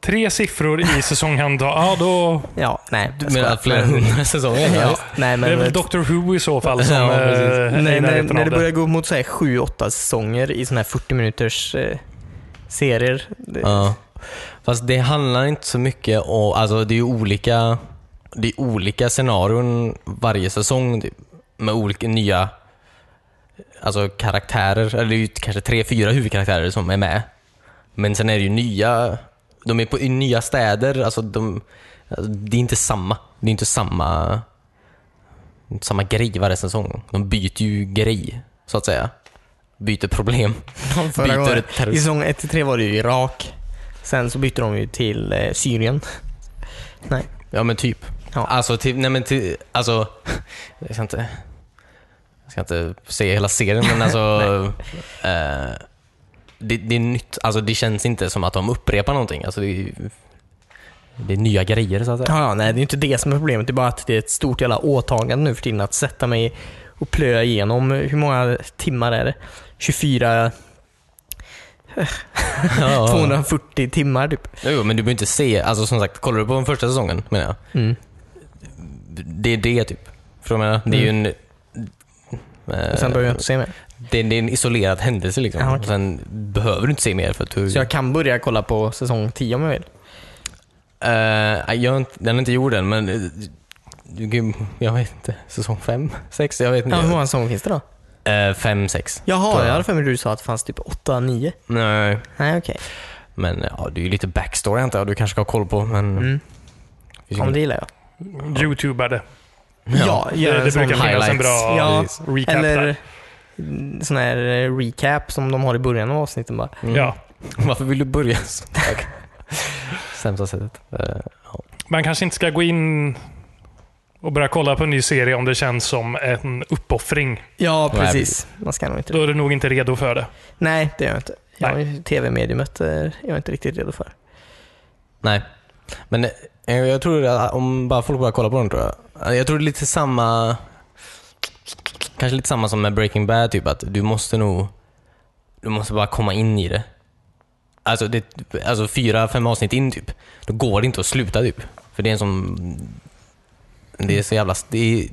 Speaker 3: Tre siffror i säsonghandel. Ja, då...
Speaker 1: Ja, nej. jag
Speaker 2: Men
Speaker 1: skojar.
Speaker 2: att flera hundra säsonger?
Speaker 1: ja, nej, men,
Speaker 3: det är väl eh, Doctor Who i så fall som
Speaker 2: Ja,
Speaker 3: ja,
Speaker 2: precis.
Speaker 3: är
Speaker 1: när,
Speaker 3: i
Speaker 1: när,
Speaker 3: närheten
Speaker 1: när
Speaker 3: av
Speaker 1: det
Speaker 3: det.
Speaker 1: börjar gå mot så här, sju, åtta säsonger i sådana här 40 minuters eh, serier. Det,
Speaker 2: Ja. Fast det handlar inte så mycket om, alltså det är ju olika, det är olika scenarion varje säsong typ, med olika nya alltså karaktärer, eller det är ju kanske tre, fyra huvudkaraktärer som är med. Men sen är det ju nya, de är på, i nya städer, alltså de, alltså det är inte samma, det är inte samma, det är inte samma grej varje säsong. De byter ju grej, så att säga. Byter problem.
Speaker 1: Förra
Speaker 2: byter
Speaker 1: gången,
Speaker 2: terrorist-
Speaker 1: I säsong 1-3 var det ju Irak. Sen så bytte de ju till eh, Syrien. Nej.
Speaker 2: Ja men typ.
Speaker 1: Ja.
Speaker 2: Alltså, typ, nej men ty, alltså, jag ska inte, jag ska inte se hela serien men alltså, eh, det, det är nytt, alltså det känns inte som att de upprepar någonting. Alltså, det, är, ju- det är nya grejer så att säga.
Speaker 1: Ja, ja, nej, det är inte det som är problemet. Det är bara att det är ett stort jävla åtagande nu för tiden att sätta mig och plöja igenom. Hur många timmar är det? 24,
Speaker 2: Ja.
Speaker 1: 240 timmar typ.
Speaker 2: Jo, men du behöver inte se, alltså som sagt, kollar du på den första säsongen menar jag,
Speaker 1: Mm.
Speaker 2: det är det typ. För jag menar, det är ju en
Speaker 1: Mm. Och
Speaker 2: Eh,
Speaker 1: sen behöver jag inte se mer.
Speaker 2: det, är- det är en isolerad händelse liksom.
Speaker 1: Ja, okej.
Speaker 2: Och Sen behöver du inte se mer för att du...
Speaker 1: Så jag kan börja kolla på säsong 10 om jag vill.
Speaker 2: Eh, jag har inte, den är inte gjord än, men eh, du, gud, jag vet inte. Säsong fem, sex, jag vet
Speaker 1: Ja, hur
Speaker 2: inte.
Speaker 1: många säsonger finns det då?
Speaker 2: Eh, fem, sex.
Speaker 1: Jaha,
Speaker 2: Tror
Speaker 1: jag
Speaker 2: jag.
Speaker 1: hade för mig du sa att det fanns typ 8, 9.
Speaker 2: Nej,
Speaker 1: Nej, okej.
Speaker 2: men eh, ja, det är ju lite backstory antar jag du kanske ska ha koll på. Men
Speaker 1: Mm.
Speaker 2: finns
Speaker 1: Om
Speaker 2: ju
Speaker 1: det gillar jag.
Speaker 3: Youtubade.
Speaker 1: Ja, gör
Speaker 3: Det,
Speaker 1: en
Speaker 3: det
Speaker 1: sån
Speaker 3: brukar finnas en bra
Speaker 1: Ja,
Speaker 3: eh, recap
Speaker 1: Eller
Speaker 3: där.
Speaker 1: mm, sån här eh, recap som de har i början av avsnitten bara.
Speaker 2: Mm.
Speaker 3: Ja.
Speaker 2: Varför vill du börja så? Tack. Sämsta sättet. Eh,
Speaker 3: Man kanske inte ska gå in och börja kolla på en ny serie om det känns som en uppoffring.
Speaker 1: Ja,
Speaker 2: Nej,
Speaker 1: precis. Man ska nog inte
Speaker 3: Då är du nog inte redo för det.
Speaker 1: Nej, det är jag inte. Jag är TV-mediumet eh, är jag inte riktigt redo för.
Speaker 2: nej. Men eh, jag tror att om bara folk bara kollar på den tror jag. Eh, Jag tror det är lite samma... Kanske lite samma som med Breaking Bad, typ att du måste nog... Du måste bara komma in i det. Alltså, det, alltså fyra, fem avsnitt in typ. Då går det inte att sluta typ. För det är en sån... Det är så jävla... Det är,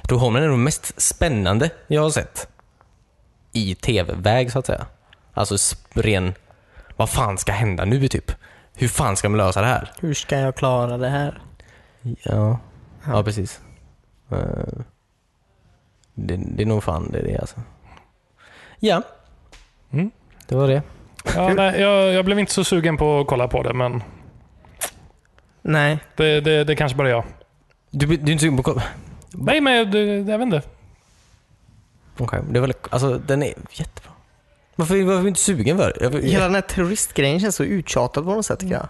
Speaker 2: jag tror Homeland är nog mest spännande jag har sett. I tv-väg så att säga. Alltså s- ren... Vad fan ska hända nu typ? Hur fan ska man lösa det här?
Speaker 1: Hur ska jag klara det här?
Speaker 2: Ja, ja precis. Eh, Det, det är nog fan det, är det alltså. Ja.
Speaker 3: Mm.
Speaker 2: Det var det.
Speaker 3: Ja, nej, jag, jag blev inte så sugen på att kolla på det, men
Speaker 1: Nej,
Speaker 3: det, det, det kanske bara är jag.
Speaker 2: Du, du är inte sugen på att kolla?
Speaker 3: Nej, men jag, det, jag vet inte.
Speaker 2: Okej, det är väl, alltså den är jättebra. Varför, varför är vi inte sugen för? Jag,
Speaker 1: Hela den här terroristgrejen känns så uttjatad på något sätt tycker jag.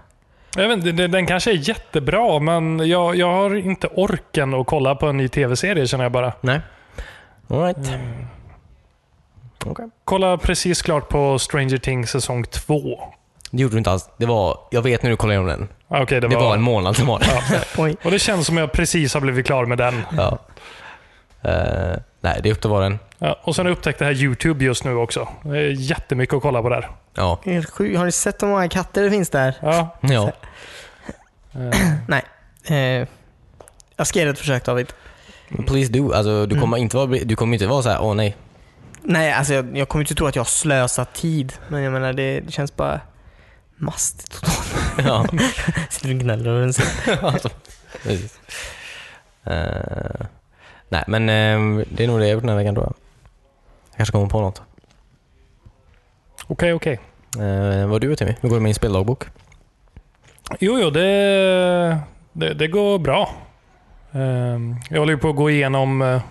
Speaker 3: Jag vet inte, den- den kanske är jättebra, men jag, jag har inte orken att kolla på en ny tv-serie känner jag bara.
Speaker 2: Nej. Alright. Okej.
Speaker 3: Kolla precis klart på Stranger Things säsong 2.
Speaker 2: Det gjorde du inte alls. Det var, jag vet nu, kolla igenom den.
Speaker 3: Ah, Okej, det,
Speaker 2: Det var
Speaker 3: var...
Speaker 2: en månad som var det.
Speaker 1: Oj.
Speaker 3: Och det känns som jag precis har blivit klar med den.
Speaker 2: Ja. Eh, nej, det är upp till var och en.
Speaker 3: Ja, och sen har jag upptäckt det här YouTube just nu också. Det är jättemycket att kolla på där.
Speaker 2: Ja.
Speaker 1: Det är helt sjukt. Har ni sett hur många katter det finns där?
Speaker 3: Ja,
Speaker 2: ja.
Speaker 1: Eh, jag ska ge det ett försök David.
Speaker 2: Please do. Alltså, du kommer inte vara, du kommer inte vara så här, åh nej.
Speaker 1: Nej, alltså jag, jag kommer inte tro att jag har slösat tid. Men jag menar, det, det känns bara mastigt totalt.
Speaker 2: Ja.
Speaker 1: Sitter och gnäller över en sån.
Speaker 2: alltså, precis. Eh, nej, men eh, det är nog det jag gjort den här veckan tror jag. Jag kanske kommer på något.
Speaker 3: okej, okej.
Speaker 2: Eh, vad har du gjort Timmy? Hur går det med din speldagbok?
Speaker 3: Jo, jo, det, det, det går bra. Ehm, Jag håller ju på att gå igenom eh,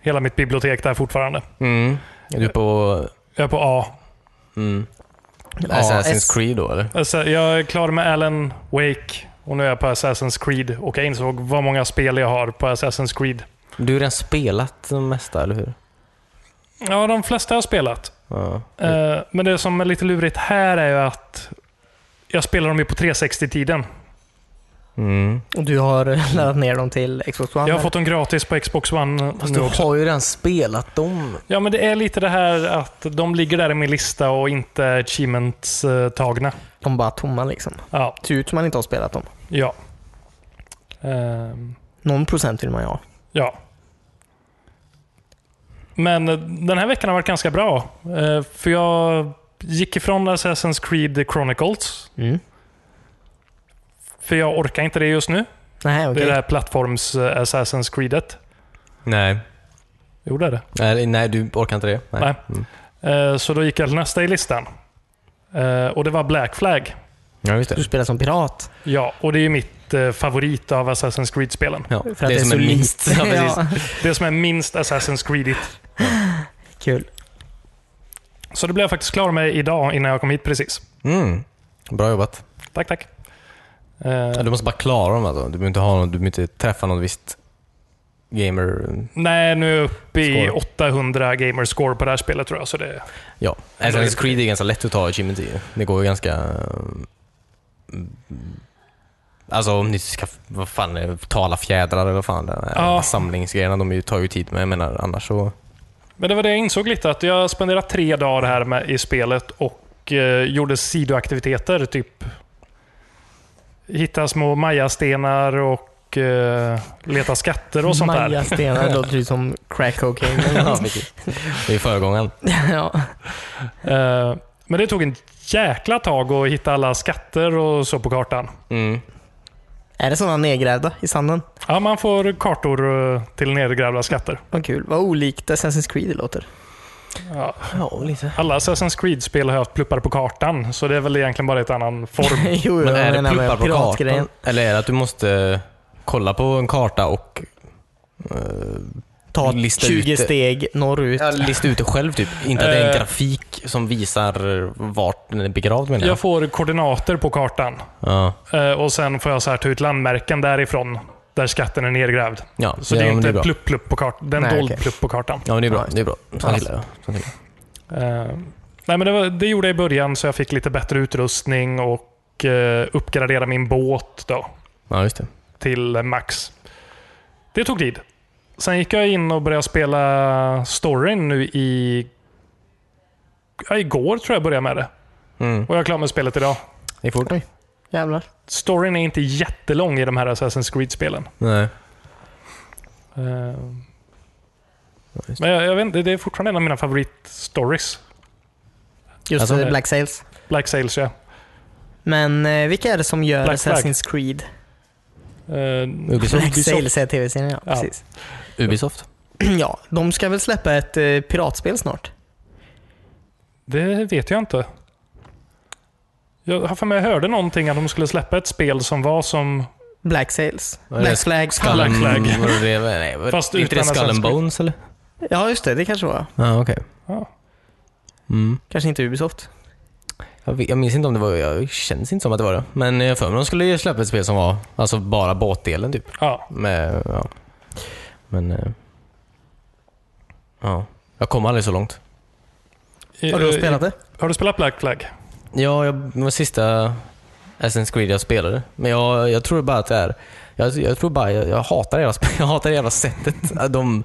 Speaker 3: hela mitt bibliotek där fortfarande.
Speaker 2: Mm. Är du på
Speaker 3: Jag är på A.
Speaker 2: mm,
Speaker 1: Ja, S-
Speaker 2: Assassin's Creed då eller?
Speaker 3: Alltså, jag är klar med Alan Wake och nu är jag på Assassin's Creed. Och jag insåg vad många spel jag har på Assassin's Creed.
Speaker 2: Du har redan spelat det mesta, eller hur?
Speaker 3: Ja, de flesta har jag spelat.
Speaker 2: Ja.
Speaker 3: Eh, Men det som är lite lurigt här är ju att jag spelar dem ju på 360-tiden.
Speaker 2: Mm.
Speaker 1: Och du har eh, laddat ner dem till Xbox One?
Speaker 3: Jag har
Speaker 1: eller?
Speaker 3: fått dem gratis på Xbox One
Speaker 2: Fast
Speaker 3: nu
Speaker 2: du
Speaker 3: också.
Speaker 2: har ju redan spelat dem.
Speaker 3: Ja, men det är lite det här att de ligger där i min lista och inte achievements-tagna.
Speaker 1: De är bara tomma liksom.
Speaker 3: Ja.
Speaker 1: Ser ut som man inte har spelat dem.
Speaker 3: ja. Ehm,
Speaker 1: Någon procent vill man ju ha.
Speaker 3: Ja. Men eh, den här veckan har varit ganska bra. Eh, För jag gick ifrån Assassin's Creed Chronicles.
Speaker 1: Mm.
Speaker 3: För jag orkar inte det just nu.
Speaker 1: Nej, okej.
Speaker 3: Det är det här plattforms-Assassin's Creedet.
Speaker 2: Nej.
Speaker 3: Jo, det är det.
Speaker 2: Nej, nej, du orkar inte det?
Speaker 3: Nej.
Speaker 2: Mm.
Speaker 3: Eh, Så då gick jag till nästa i listan. Eh, Och det var Black Flag.
Speaker 2: Ja, just
Speaker 1: Du
Speaker 2: det.
Speaker 1: spelar som pirat.
Speaker 3: Ja, och det är ju mitt eh, favorit av Assassin's Creed-spelen.
Speaker 2: Ja,
Speaker 1: För att det är, så
Speaker 2: en
Speaker 1: likt.
Speaker 2: Ja, precis.
Speaker 1: Ja.
Speaker 3: Det som är minst Assassin's Creedigt.
Speaker 1: Kul.
Speaker 3: Så det blev jag faktiskt klar med idag innan jag kom hit precis.
Speaker 2: Mm. Bra jobbat.
Speaker 3: Tack, tack. Eh,
Speaker 2: Ja, du måste bara klara dem alltså. Du behöver inte, ha någon, du behöver inte träffa någon visst gamer.
Speaker 3: Nej, nu är jag uppe i
Speaker 2: Score.
Speaker 3: 800 gamerscore på det här spelet tror jag. Så det,
Speaker 2: Ja. Assassin's Creed är ganska lätt att ta achievement i. Det går ju ganska... mm, Alltså om ni ska, vad fan är det, tala fjädrar eller vad fan det är.
Speaker 3: Ja.
Speaker 2: Samlingsgrejerna, de är ju- tar ju tid. Men jag menar annars så...
Speaker 3: men det var det jag insåg lite, att jag har spenderat tre dagar här med, i spelet och eh, gjorde sidoaktiviteter. Typ hitta små majastenar och eh, leta skatter och sånt där.
Speaker 1: Maja Stenar låter ju som crack cocaine. eller
Speaker 2: Ja,
Speaker 1: något.
Speaker 2: precis. det är ju föregångaren.
Speaker 1: ja.
Speaker 3: Eh, men det tog en jäkla tag att hitta alla skatter och så på kartan.
Speaker 2: Mm.
Speaker 1: Är det sådana nedgrävda i sanden?
Speaker 3: Ja, man får kartor eh, till nedgrävda skatter.
Speaker 1: Vad kul. Vad olikt Assassin's Creed det låter.
Speaker 3: Ja.
Speaker 2: Ja, lite.
Speaker 3: Alla Assassin's Creed-spel har haft pluppar på kartan, så det är väl egentligen bara ett annan form.
Speaker 1: jo,
Speaker 2: Men
Speaker 1: jag
Speaker 2: är det
Speaker 1: menar med
Speaker 2: pluppar på
Speaker 1: piratgrejen.
Speaker 2: kartan? Eller är det att du måste kolla på en karta och eh,
Speaker 1: Ta
Speaker 2: Lista
Speaker 1: 20
Speaker 2: ut det.
Speaker 1: steg norrut.
Speaker 2: ja, lista ut det själv? Typ. Inte att det är en
Speaker 3: Eh.
Speaker 2: grafik som visar vart den är begravd menar jag.
Speaker 3: Jag får koordinater på kartan
Speaker 2: Ja,
Speaker 3: eh, och sen får jag så här ta ut landmärken därifrån där skatten är nedgrävd.
Speaker 2: ja.
Speaker 3: Så
Speaker 2: ja,
Speaker 3: det är
Speaker 2: men
Speaker 3: inte
Speaker 2: bra.
Speaker 3: plupp-plupp på kartan. Det är en
Speaker 1: Nej,
Speaker 3: dold
Speaker 1: okej.
Speaker 3: plupp på kartan.
Speaker 2: Ja, men det är
Speaker 1: Ja,
Speaker 2: bra.
Speaker 1: just
Speaker 2: det är bra.
Speaker 3: Ja.
Speaker 2: Sånt gillar jag. Sånt gillar
Speaker 3: Eh, nej, men det, var, det gjorde jag i början så jag fick lite bättre utrustning och eh, uppgradera min båt då
Speaker 2: jag. Ja, just det.
Speaker 3: till max. Det tog tid. Sen gick jag in och började spela storyn nu i... Ja, igår tror jag började med det.
Speaker 2: Mm.
Speaker 3: Och jag är klar med spelet idag.
Speaker 2: Det är fort.
Speaker 1: Jävlar.
Speaker 3: Storyn är inte jättelång i de här Assassin's Creed-spelen.
Speaker 2: Nej.
Speaker 3: Eh,
Speaker 2: just
Speaker 3: Men jag, jag vet inte, det är fortfarande en av mina favoritstories.
Speaker 1: Just
Speaker 2: Alltså,
Speaker 1: eh,
Speaker 3: nej.
Speaker 1: Black Sails.
Speaker 3: Black Sails, ja.
Speaker 1: Men eh, vilka är det som gör
Speaker 3: Black Flag.
Speaker 1: Assassin's Creed?
Speaker 3: Eh,
Speaker 2: Ubisoft.
Speaker 1: Black
Speaker 3: Ubisoft.
Speaker 1: Sails är tv-serien, ja.
Speaker 3: Ja.
Speaker 1: Precis.
Speaker 2: Ubisoft.
Speaker 1: Ja, de ska väl släppa ett eh, piratspel snart?
Speaker 3: det vet jag inte. Jag har för mig jag hörde någonting att de skulle släppa ett spel som var som...
Speaker 1: Black Sails.
Speaker 2: Vad är det?
Speaker 1: Black Flag.
Speaker 2: Skull and-
Speaker 3: Black Flag.
Speaker 2: Mm. vad är det? Nej, vad-
Speaker 3: Fast
Speaker 2: är inte det
Speaker 3: utan
Speaker 2: Skull and
Speaker 3: Assassin's Creed.
Speaker 2: Bones eller?
Speaker 1: Ja, just det. Det kanske var.
Speaker 2: Ja, okej.
Speaker 3: Ja.
Speaker 2: Mm.
Speaker 1: Kanske inte Ubisoft.
Speaker 2: Jag, vet- jag minns inte om det var, jag känns inte som att det var det. Men jag har för mig de skulle ju släppa ett spel som var alltså bara båtdelen typ.
Speaker 3: Ja.
Speaker 2: Med, ja. Men... eh, Ja. Jag kom aldrig så långt.
Speaker 1: Har du spelat det?
Speaker 3: eh, Har du spelat Black Flag?
Speaker 2: Ja, jag, det var sista Assassin's Creed jag spelade. Men jag, jag tror bara att det är... Jag, jag tror bara jag, jag hatar hela sp- jag hatar hela sättet. att De,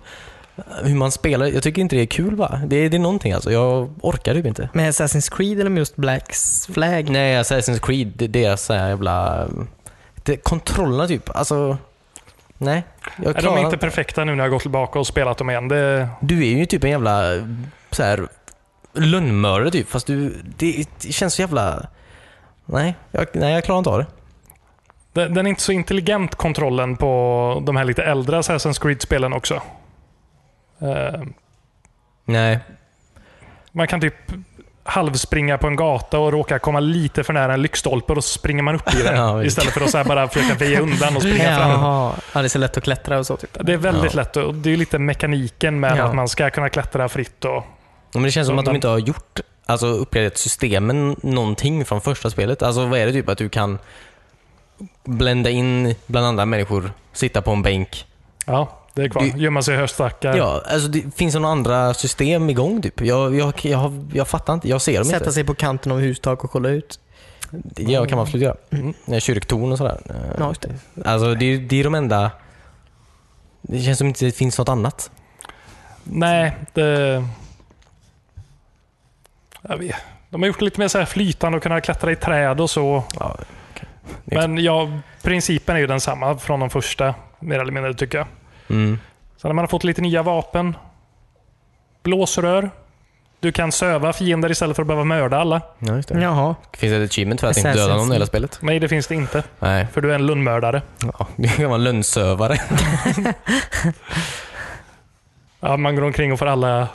Speaker 2: hur man spelar. Jag tycker inte det är kul va? Det, är- det är någonting alltså. Jag orkar typ inte.
Speaker 1: Med Assassin's Creed eller med just Blacks Flag?
Speaker 2: Nej, Assassin's Creed, det- deras så här jävla... Det, kontrollerna typ. Alltså... Nej. Jag
Speaker 3: Är de
Speaker 2: klarar
Speaker 3: inte perfekta nu när jag har gått tillbaka och spelat dem igen? Det,
Speaker 2: Du är ju typ en jävla så här lönnmördare typ. Fast du, det, det känns så jävla... Nej jag, nej, jag klarar inte av det.
Speaker 3: den den är inte så intelligent kontrollen på de här lite äldre Assassin's Creed-spelen också. Eh,
Speaker 2: Nej.
Speaker 3: Man kan typ halvspringa på en gata och råka komma lite för nära en lyktstolpe och då springer man upp i den.
Speaker 2: Ja, visst.
Speaker 3: istället för att så här bara försöka väja undan och springa fram.
Speaker 1: Jaha. Ja, det är så lätt att klättra och så typ.
Speaker 3: Det är väldigt lätt och det är lite mekaniken med
Speaker 1: Ja.
Speaker 3: att man ska kunna klättra fritt. Och,
Speaker 2: Men det känns som att de
Speaker 3: Men-
Speaker 2: inte har gjort, alltså uppgraderat systemen någonting från första spelet. Alltså vad är det typ att du kan blända in bland andra människor, sitta på en bänk.
Speaker 3: ja, det är kvar.
Speaker 2: Det-
Speaker 3: Gömma sig i höstackar.
Speaker 2: Ja, alltså det, finns det några andra system igång typ? Jag, jag, jag, jag fattar inte, jag ser dem
Speaker 1: Sätta sig på kanten av hustak och kolla ut.
Speaker 2: inte. Det kan man absolut göra. Mm. Kyrktorn och sådär. Eh,
Speaker 1: Ja, just det.
Speaker 2: Alltså det, är- det är de enda... Det känns som inte det finns något annat.
Speaker 3: Nej, det... Jag vet. De har gjort det lite mer så här flytande och kunna klättra i träd och så.
Speaker 2: Ja, Det är
Speaker 3: Men ja, principen är ju densamma från de första, mer eller mindre tycker jag.
Speaker 2: mm.
Speaker 3: Sen har man fått lite nya vapen. Blåsrör. Du kan söva fiender istället för att behöva mörda alla.
Speaker 2: ja, just det.
Speaker 1: Jaha.
Speaker 2: Finns det ett achievement för att inte
Speaker 1: Assassin's
Speaker 2: döda någon i hela
Speaker 1: Creed.
Speaker 2: spelet?
Speaker 3: Nej, det finns det inte.
Speaker 2: Nej.
Speaker 3: För du är en lönnmördare.
Speaker 2: Ja, du kan vara en lönnsövare.
Speaker 3: Ja, man går omkring och får alla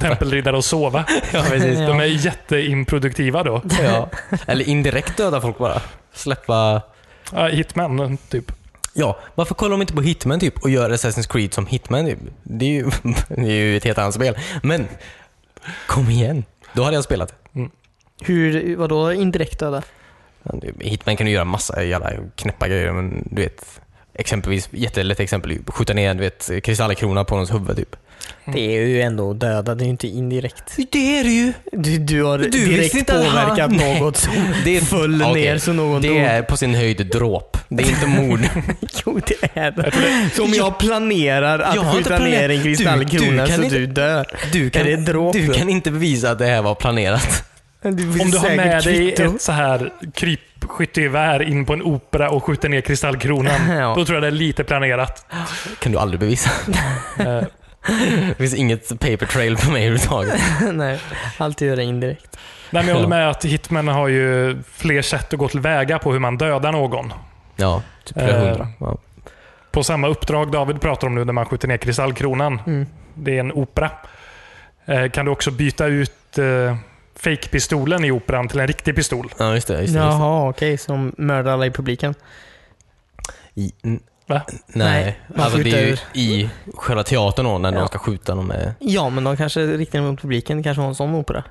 Speaker 3: tempelriddare att sova.
Speaker 2: ja, precis.
Speaker 3: De är jätteimproduktiva då.
Speaker 2: Ja. Eller indirekt döda folk bara. Släppa...
Speaker 3: Ja, hitman, typ.
Speaker 2: Ja, varför kollar de inte på Hitman typ och gör Assassin's Creed som Hitman typ? Det är ju, det är ju ett helt annat spel. Men, kom igen. Då hade jag spelat.
Speaker 1: Hur, vadå indirekt döda?
Speaker 2: Hitman kan du göra massa jävla knäppa grejer, men du vet. Exempelvis, jättelätt exempel, skjuta ner du vet, kristallkrona på någons huvud typ.
Speaker 1: Det är ju ändå döda, det är ju inte indirekt.
Speaker 2: Det är det ju!
Speaker 1: Du, du har
Speaker 2: Du
Speaker 1: direkt
Speaker 2: visste inte att han-
Speaker 1: påverkat
Speaker 2: Nej.
Speaker 1: något som
Speaker 2: Det är-
Speaker 1: föll
Speaker 2: Okej.
Speaker 1: ner så någon
Speaker 2: Det
Speaker 1: dog.
Speaker 2: är på sin höjd dråp. Det är inte mord.
Speaker 1: Jo, det är det. Som jag planerar att
Speaker 2: Jag har inte
Speaker 1: skjuta ner
Speaker 2: planerat.
Speaker 1: en
Speaker 2: Du-
Speaker 1: kristallkrona
Speaker 2: du kan
Speaker 1: så
Speaker 2: inte-
Speaker 1: du dör.
Speaker 2: Du kan,
Speaker 1: Är det dråp
Speaker 2: du
Speaker 1: då?
Speaker 2: kan inte bevisa att det här var planerat.
Speaker 1: Du
Speaker 3: Om du har med dig ett
Speaker 1: ett...
Speaker 3: så här krypskyttegevär in på en opera och skjuter ner kristallkronan.
Speaker 1: Ja.
Speaker 3: Då tror jag det är lite planerat.
Speaker 2: kan du aldrig bevisa.
Speaker 3: Eh,
Speaker 2: Det finns inget paper trail på mig överhuvudtaget.
Speaker 1: Nej, alltid göra indirekt.
Speaker 3: Nej, men jag
Speaker 2: Ja.
Speaker 3: håller med att Hitman har ju fler sätt att gå tillväga på hur man dödar någon.
Speaker 2: Ja, typ flera
Speaker 3: Eh.
Speaker 2: hundra. Ja.
Speaker 3: På samma uppdrag David pratar om nu när man skjuter ner kristallkronan.
Speaker 1: Mm.
Speaker 3: Det är en opera. Eh, Kan du också byta ut eh, fake-pistolen i operan till en riktig pistol?
Speaker 2: ja, just det. Just det, just det.
Speaker 1: Jaha, okej. Som mördar alla i publiken.
Speaker 2: I, n-
Speaker 3: Va?
Speaker 2: nej,
Speaker 1: Nej, man
Speaker 2: alltså det är ju
Speaker 1: skjuter.
Speaker 2: i själva teatern då, när de
Speaker 1: Ja.
Speaker 2: ska skjuta dem med...
Speaker 1: Ja, men de kanske riktar mot publiken. Det kanske var en sån opera.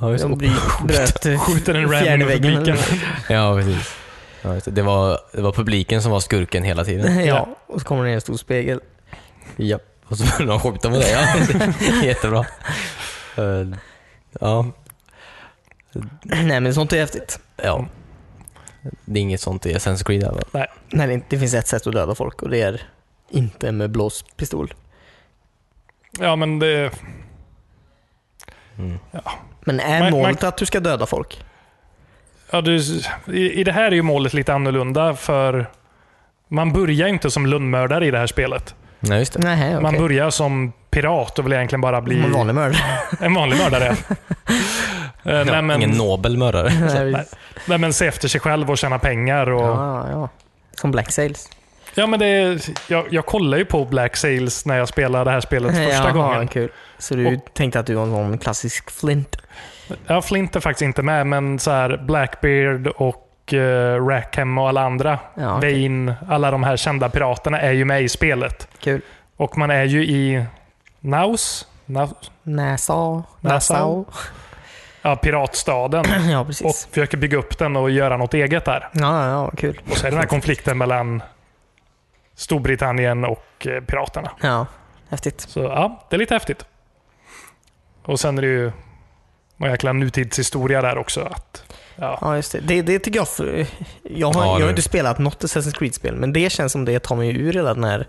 Speaker 2: Ja, just
Speaker 1: De
Speaker 2: det.
Speaker 1: blir- bröt eh,
Speaker 3: Skjuter en random
Speaker 1: fjärde
Speaker 3: i
Speaker 1: väggen.
Speaker 3: publiken.
Speaker 2: Ja, precis. Ja, just det. Det, var, det var publiken som var skurken hela tiden.
Speaker 1: Ja, och så kommer det ner en stor spegel.
Speaker 2: ja. Och så började de skjuta med det. Ja. Jättebra. Eh, Ja,
Speaker 1: Nej, men sånt är häftigt.
Speaker 2: ja. Mm. Det är inget sånt i Assassin's Creed. här, va?
Speaker 1: Nej, det- det finns ett sätt att döda folk och det är inte med blåspistol.
Speaker 3: Ja, men det,
Speaker 2: Mm.
Speaker 1: Men är
Speaker 3: Man-
Speaker 1: målet att du ska döda folk?
Speaker 3: ja, du, i, I det här är ju målet lite annorlunda för man börjar ju inte som lönnmördare i det här spelet.
Speaker 2: Nej, just det.
Speaker 3: Eh,
Speaker 1: Nej,
Speaker 3: Man
Speaker 1: okej.
Speaker 3: börjar som pirat och vill egentligen bara bli
Speaker 1: Man vanlig mördare.
Speaker 3: en vanlig mördare. Eh,
Speaker 2: Ja,
Speaker 3: nej,
Speaker 2: Ingen
Speaker 3: men,
Speaker 2: nobel mördare.
Speaker 1: Nej,
Speaker 3: nej, men se efter sig själv och tjäna pengar. Och,
Speaker 1: ja, ja. Som Black Sails.
Speaker 3: Ja, men det är, jag, jag kollar ju på Black Sails när jag spelar det här spelet första
Speaker 1: Jaha,
Speaker 3: gången.
Speaker 1: Kul. Så du tänkte att du var en sån klassisk flint?
Speaker 3: Ja, Flint är faktiskt inte med, men så här Blackbeard och uh, Rackham och alla andra.
Speaker 1: Ja, okej.
Speaker 3: Vane, alla de här kända piraterna är ju med i spelet.
Speaker 1: Kul.
Speaker 3: Och man är ju i Naus? Naus?
Speaker 1: Nassau. Nassau.
Speaker 3: Ja, piratstaden.
Speaker 1: ja,
Speaker 3: Och
Speaker 1: precis.
Speaker 3: försöker bygga upp den och göra något eget där.
Speaker 1: Ja, ja, ja, kul.
Speaker 3: Och så är det den här konflikten mellan Storbritannien och eh, piraterna.
Speaker 1: Ja, häftigt.
Speaker 3: Så ja, det är lite häftigt. Och sen är det ju någon jäkla nutidshistoria där också. Att, ja.
Speaker 1: Ja, just det. Det, det tycker jag... För, jag, har,
Speaker 2: Ja,
Speaker 1: jag har
Speaker 2: det-
Speaker 1: inte spelat något Assassin's Creed-spel, men det känns som det tar mig ur hela den här...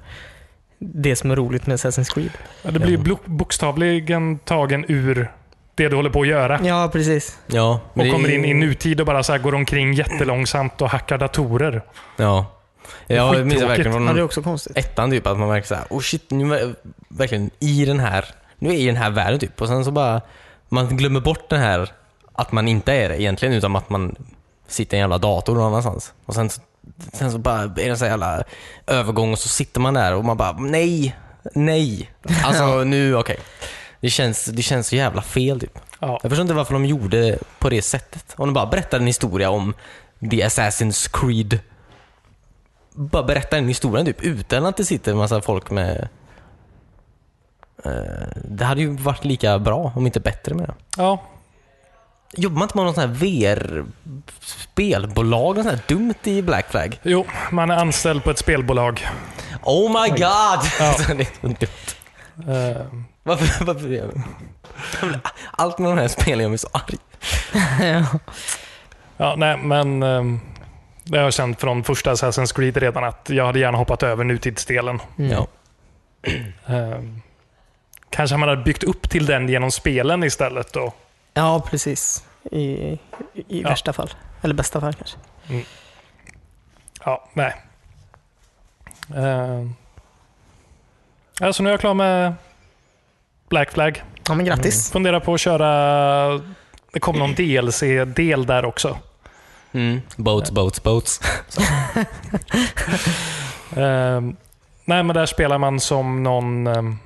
Speaker 1: Det som är roligt med Assassin's Creed.
Speaker 3: Ja, Det blir ju blo- bokstavligen tagen ur det du håller på att göra.
Speaker 1: Ja, precis.
Speaker 2: Ja.
Speaker 3: Och
Speaker 2: det-
Speaker 3: kommer in i nutid och bara så här går omkring jättelångsamt och hackar datorer.
Speaker 2: Ja. Jag minns
Speaker 3: Skittråkigt.
Speaker 2: verkligen
Speaker 1: Ja,
Speaker 2: från
Speaker 1: det är också konstigt.
Speaker 2: ettan typ att man verkar såhär, oh shit, nu är jag verkligen i den här, nu är jag i den här världen typ. Och sen så bara, man glömmer bort den här, att man inte är det egentligen, utan att man sitter i en jävla dator någon annanstans. Och sen, så- sen så bara är det en sån jävla övergång och så sitter man där och man bara, nej, nej. Alltså nu, okej. Det känns, det känns så jävla fel typ.
Speaker 3: Ja.
Speaker 2: Jag förstår inte varför de gjorde på det sättet. Om de bara berättar en historia om The Assassin's Creed. Bara berätta en historia typ, utan att det sitter en massa folk med... Eh, Det hade ju varit lika bra, om inte bättre med det.
Speaker 3: Ja,
Speaker 2: Jobbar man inte med någon sån här VR-spelbolag? Något sånt här dumt i Black Flag?
Speaker 3: jo, man är anställd på ett spelbolag.
Speaker 2: Oh my god!
Speaker 3: Ja.
Speaker 2: det är så dumt.
Speaker 3: Eh,
Speaker 2: Varför, varför gör vi? Allt med de här spelen gör mig så arg.
Speaker 3: Ja, nej, men ehm, det har jag känt från första Assassin's Creed redan att jag hade gärna hoppat över nutidsdelen.
Speaker 2: Ja.
Speaker 3: Ehm, kanske man hade byggt upp till den genom spelen istället. Då.
Speaker 1: Ja, precis. I, i, i
Speaker 3: Ja.
Speaker 1: värsta fall. Eller bästa fall kanske.
Speaker 3: Ja, nej. Ehm, alltså nu är jag klar med Black Flag.
Speaker 1: Ja, men grattis.
Speaker 3: Funderar på att köra... Det kom någon DLC-del där också.
Speaker 2: Mm. Boats, boats, boats.
Speaker 3: Ehm, nej, men där spelar man som någon... ehm,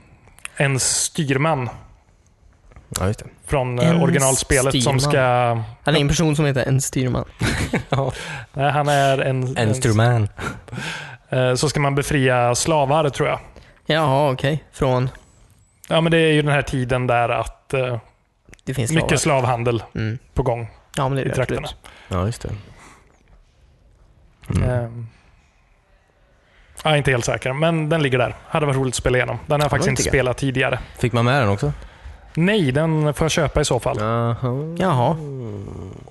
Speaker 3: en styrman
Speaker 2: Ja, just det.
Speaker 3: från eh,
Speaker 1: En
Speaker 3: originalspelet
Speaker 1: styrman.
Speaker 3: som ska...
Speaker 1: Han är Mm. en person som heter en styrman.
Speaker 3: Nej, han är en...
Speaker 2: En Sturman.
Speaker 3: eh, Så ska man befria slavar tror jag.
Speaker 1: Jaha, okej. Från...
Speaker 3: Ja, men det är ju den här tiden där att eh,
Speaker 1: Det finns
Speaker 3: mycket
Speaker 1: slavar.
Speaker 3: slavhandel
Speaker 1: Mm.
Speaker 3: på gång
Speaker 1: Ja, men det är
Speaker 3: i
Speaker 1: det
Speaker 3: trakterna.
Speaker 1: absolut.
Speaker 2: Ja, just det. Mm.
Speaker 1: Mm.
Speaker 3: Eh, jag är inte helt säker, men den ligger där. Hade varit roligt att spela igenom. Den har jag faktiskt
Speaker 1: men
Speaker 3: inte
Speaker 1: tycker jag.
Speaker 3: spelat tidigare.
Speaker 2: Fick man med den också?
Speaker 3: Nej, den får jag köpa i så fall.
Speaker 2: Jaha.
Speaker 1: Jaha.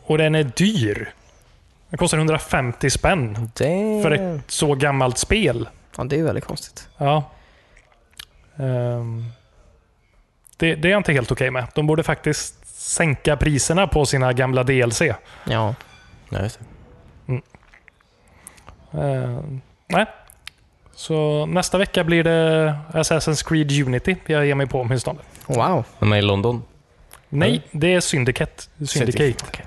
Speaker 3: Och den är dyr. Den kostar 150 spänn
Speaker 2: Damn.
Speaker 3: för ett så gammalt spel.
Speaker 1: Ja, det är ju väldigt konstigt.
Speaker 3: Ja. Ehm, det, det är jag inte helt okej med. De borde faktiskt sänka priserna på sina gamla DLC.
Speaker 1: Ja.
Speaker 2: Ja, just det.
Speaker 3: Ehm, nej. Så nästa vecka blir det Assassin's Creed Unity jag ger mig på åtminstone.
Speaker 1: Wow.
Speaker 2: Men man är i London.
Speaker 3: Nej, det är Syndicate. Syndicate.
Speaker 2: Okej.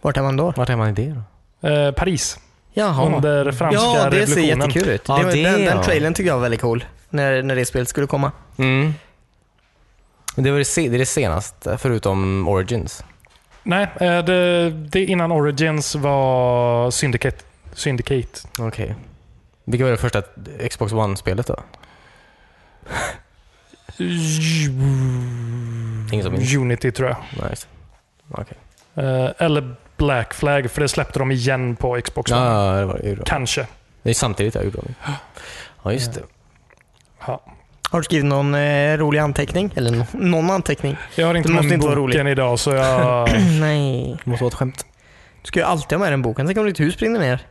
Speaker 1: Vart är man då?
Speaker 2: Vart är man i det då?
Speaker 3: Eh, Paris,
Speaker 1: Jaha.
Speaker 3: under franska
Speaker 1: ja, det ser
Speaker 3: revolutionen.
Speaker 1: jättekul ut.
Speaker 2: Ja,
Speaker 1: det, var-
Speaker 2: det,
Speaker 1: den,
Speaker 2: ja.
Speaker 1: den trailern tycker jag var väldigt cool. När, när det spelet skulle komma.
Speaker 2: Mm. Men Det, var det, se- det är det senaste, förutom Origins.
Speaker 3: Nej, eh, det, det innan Origins var Syndicate. Syndicate.
Speaker 2: Okej. Vilket var det första Xbox One-spelet då? Ingen som minns?
Speaker 3: Unity tror jag.
Speaker 2: Nej, just det. Okej.
Speaker 3: Eh, eller Black Flag, för det släppte de igen på Xbox One.
Speaker 2: Ja, det var det. Ur-
Speaker 3: Kanske.
Speaker 2: Det är samtidigt jag gjorde Ja, just det.
Speaker 3: Ja.
Speaker 1: Har du skrivit någon eh, rolig anteckning? Eller no- någon anteckning?
Speaker 3: Jag har inte
Speaker 1: Det
Speaker 3: med
Speaker 1: måste
Speaker 3: mig
Speaker 1: inte vara
Speaker 3: boken idag, så jag...
Speaker 1: Nej.
Speaker 2: Det måste vara ett skämt.
Speaker 1: Du ska ju alltid ha med den boken. Tänk om ditt hus brinner ner.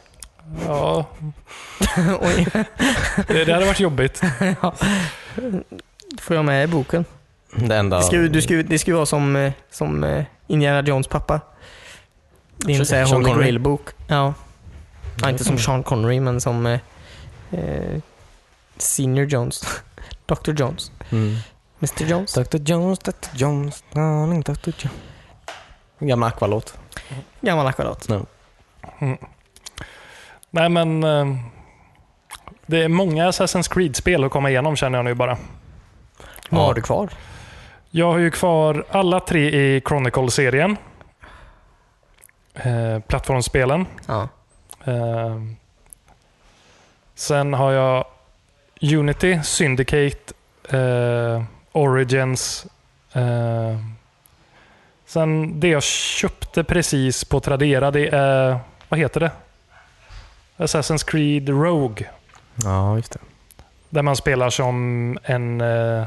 Speaker 3: ja,
Speaker 1: Oj.
Speaker 3: det, det hade varit jobbigt.
Speaker 1: Då får jag med boken.
Speaker 2: Det enda...
Speaker 1: Det ska, ju- du ska, ju- det ska ju vara som, eh, som eh, Indiana Jones pappa. Din
Speaker 2: Sean-
Speaker 1: såhär
Speaker 2: Sean
Speaker 1: Holy
Speaker 2: Connery. Mm.
Speaker 1: Grail-bok. Ja. ja. Inte som Sean Connery, men som eh, eh, Senior Jones. Dr Jones.
Speaker 2: Mm.
Speaker 1: Mr Jones.
Speaker 2: Dr Jones, Dr Jones, darling Dr Jones. Gammal Aqualåt.
Speaker 1: Gammal akvarat.
Speaker 3: Nej, men... eh, Det är många Assassin's Creed-spel att komma igenom känner jag nu bara.
Speaker 1: Vad
Speaker 2: Ja.
Speaker 1: har du kvar?
Speaker 3: Jag har ju kvar alla tre i Chronicle-serien. Eh, plattformsspelen.
Speaker 1: Ja.
Speaker 3: Eh, sen har jag Unity, Syndicate eh, Origins. Eh, sen det jag köpte precis på Tradera, det är, vad heter det? Assassin's Creed Rogue.
Speaker 2: Ja, just det.
Speaker 3: Där man spelar som en eh,
Speaker 2: En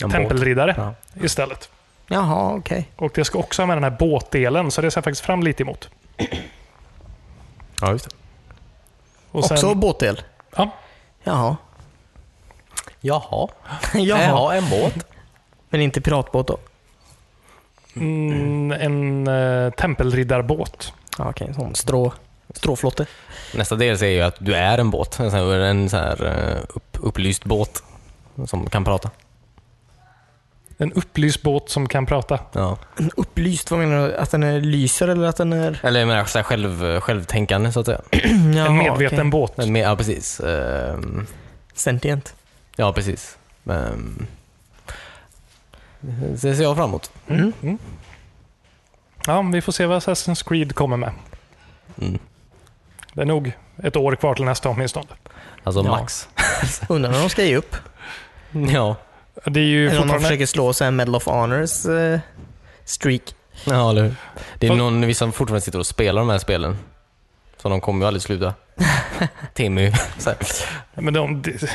Speaker 2: båt.
Speaker 3: tempelriddare
Speaker 2: Ja.
Speaker 3: istället.
Speaker 1: Jaha, okej.
Speaker 3: Och det ska också ha med den här båtdelen, så det ser jag faktiskt fram lite emot.
Speaker 2: ja, just det.
Speaker 3: Och sen,
Speaker 1: Också båtdel?
Speaker 3: Ja.
Speaker 1: Jaha.
Speaker 2: Jaha.
Speaker 1: Jaha.
Speaker 2: Jaha, en båt.
Speaker 1: Men inte piratbåt då?
Speaker 3: Mm, en eh, tempelriddarbåt.
Speaker 1: Ja, okej, en sån strå, stråflotte.
Speaker 2: Nästa del säger ju att du är en båt. En sån här, en sån här eh, upp, upplyst båt som kan prata.
Speaker 3: En upplyst båt som kan prata.
Speaker 2: Ja.
Speaker 1: En upplyst, vad menar du? Att den är lyser eller att den är...
Speaker 2: Eller jag menar, så här själv, självtänkande så att säga.
Speaker 1: Jaha,
Speaker 3: en medveten
Speaker 1: okej.
Speaker 3: båt.
Speaker 2: Men mer- Ja, precis. Ehm,
Speaker 1: Sentient.
Speaker 2: Ja, precis. Ehm, Det ser jag fram emot.
Speaker 1: Mm.
Speaker 3: Ja, vi får se vad Assassin's Creed kommer med.
Speaker 2: Mm.
Speaker 3: Det är nog ett år kvar till nästa åtminstone.
Speaker 2: Alltså
Speaker 1: Ja.
Speaker 2: max.
Speaker 1: Undrar om de ska ge upp?
Speaker 2: Ja.
Speaker 3: Det är ju
Speaker 1: Eller om de
Speaker 3: fortfarande...
Speaker 1: försöker slå sig en Medal of Honors eh, streak.
Speaker 2: ja, eller hur? Det är
Speaker 3: Fast-
Speaker 2: någon, vissa som fortfarande sitter och spelar de här spelen. Så de kommer ju aldrig sluta. Timmy. Så här.
Speaker 3: Men de, det,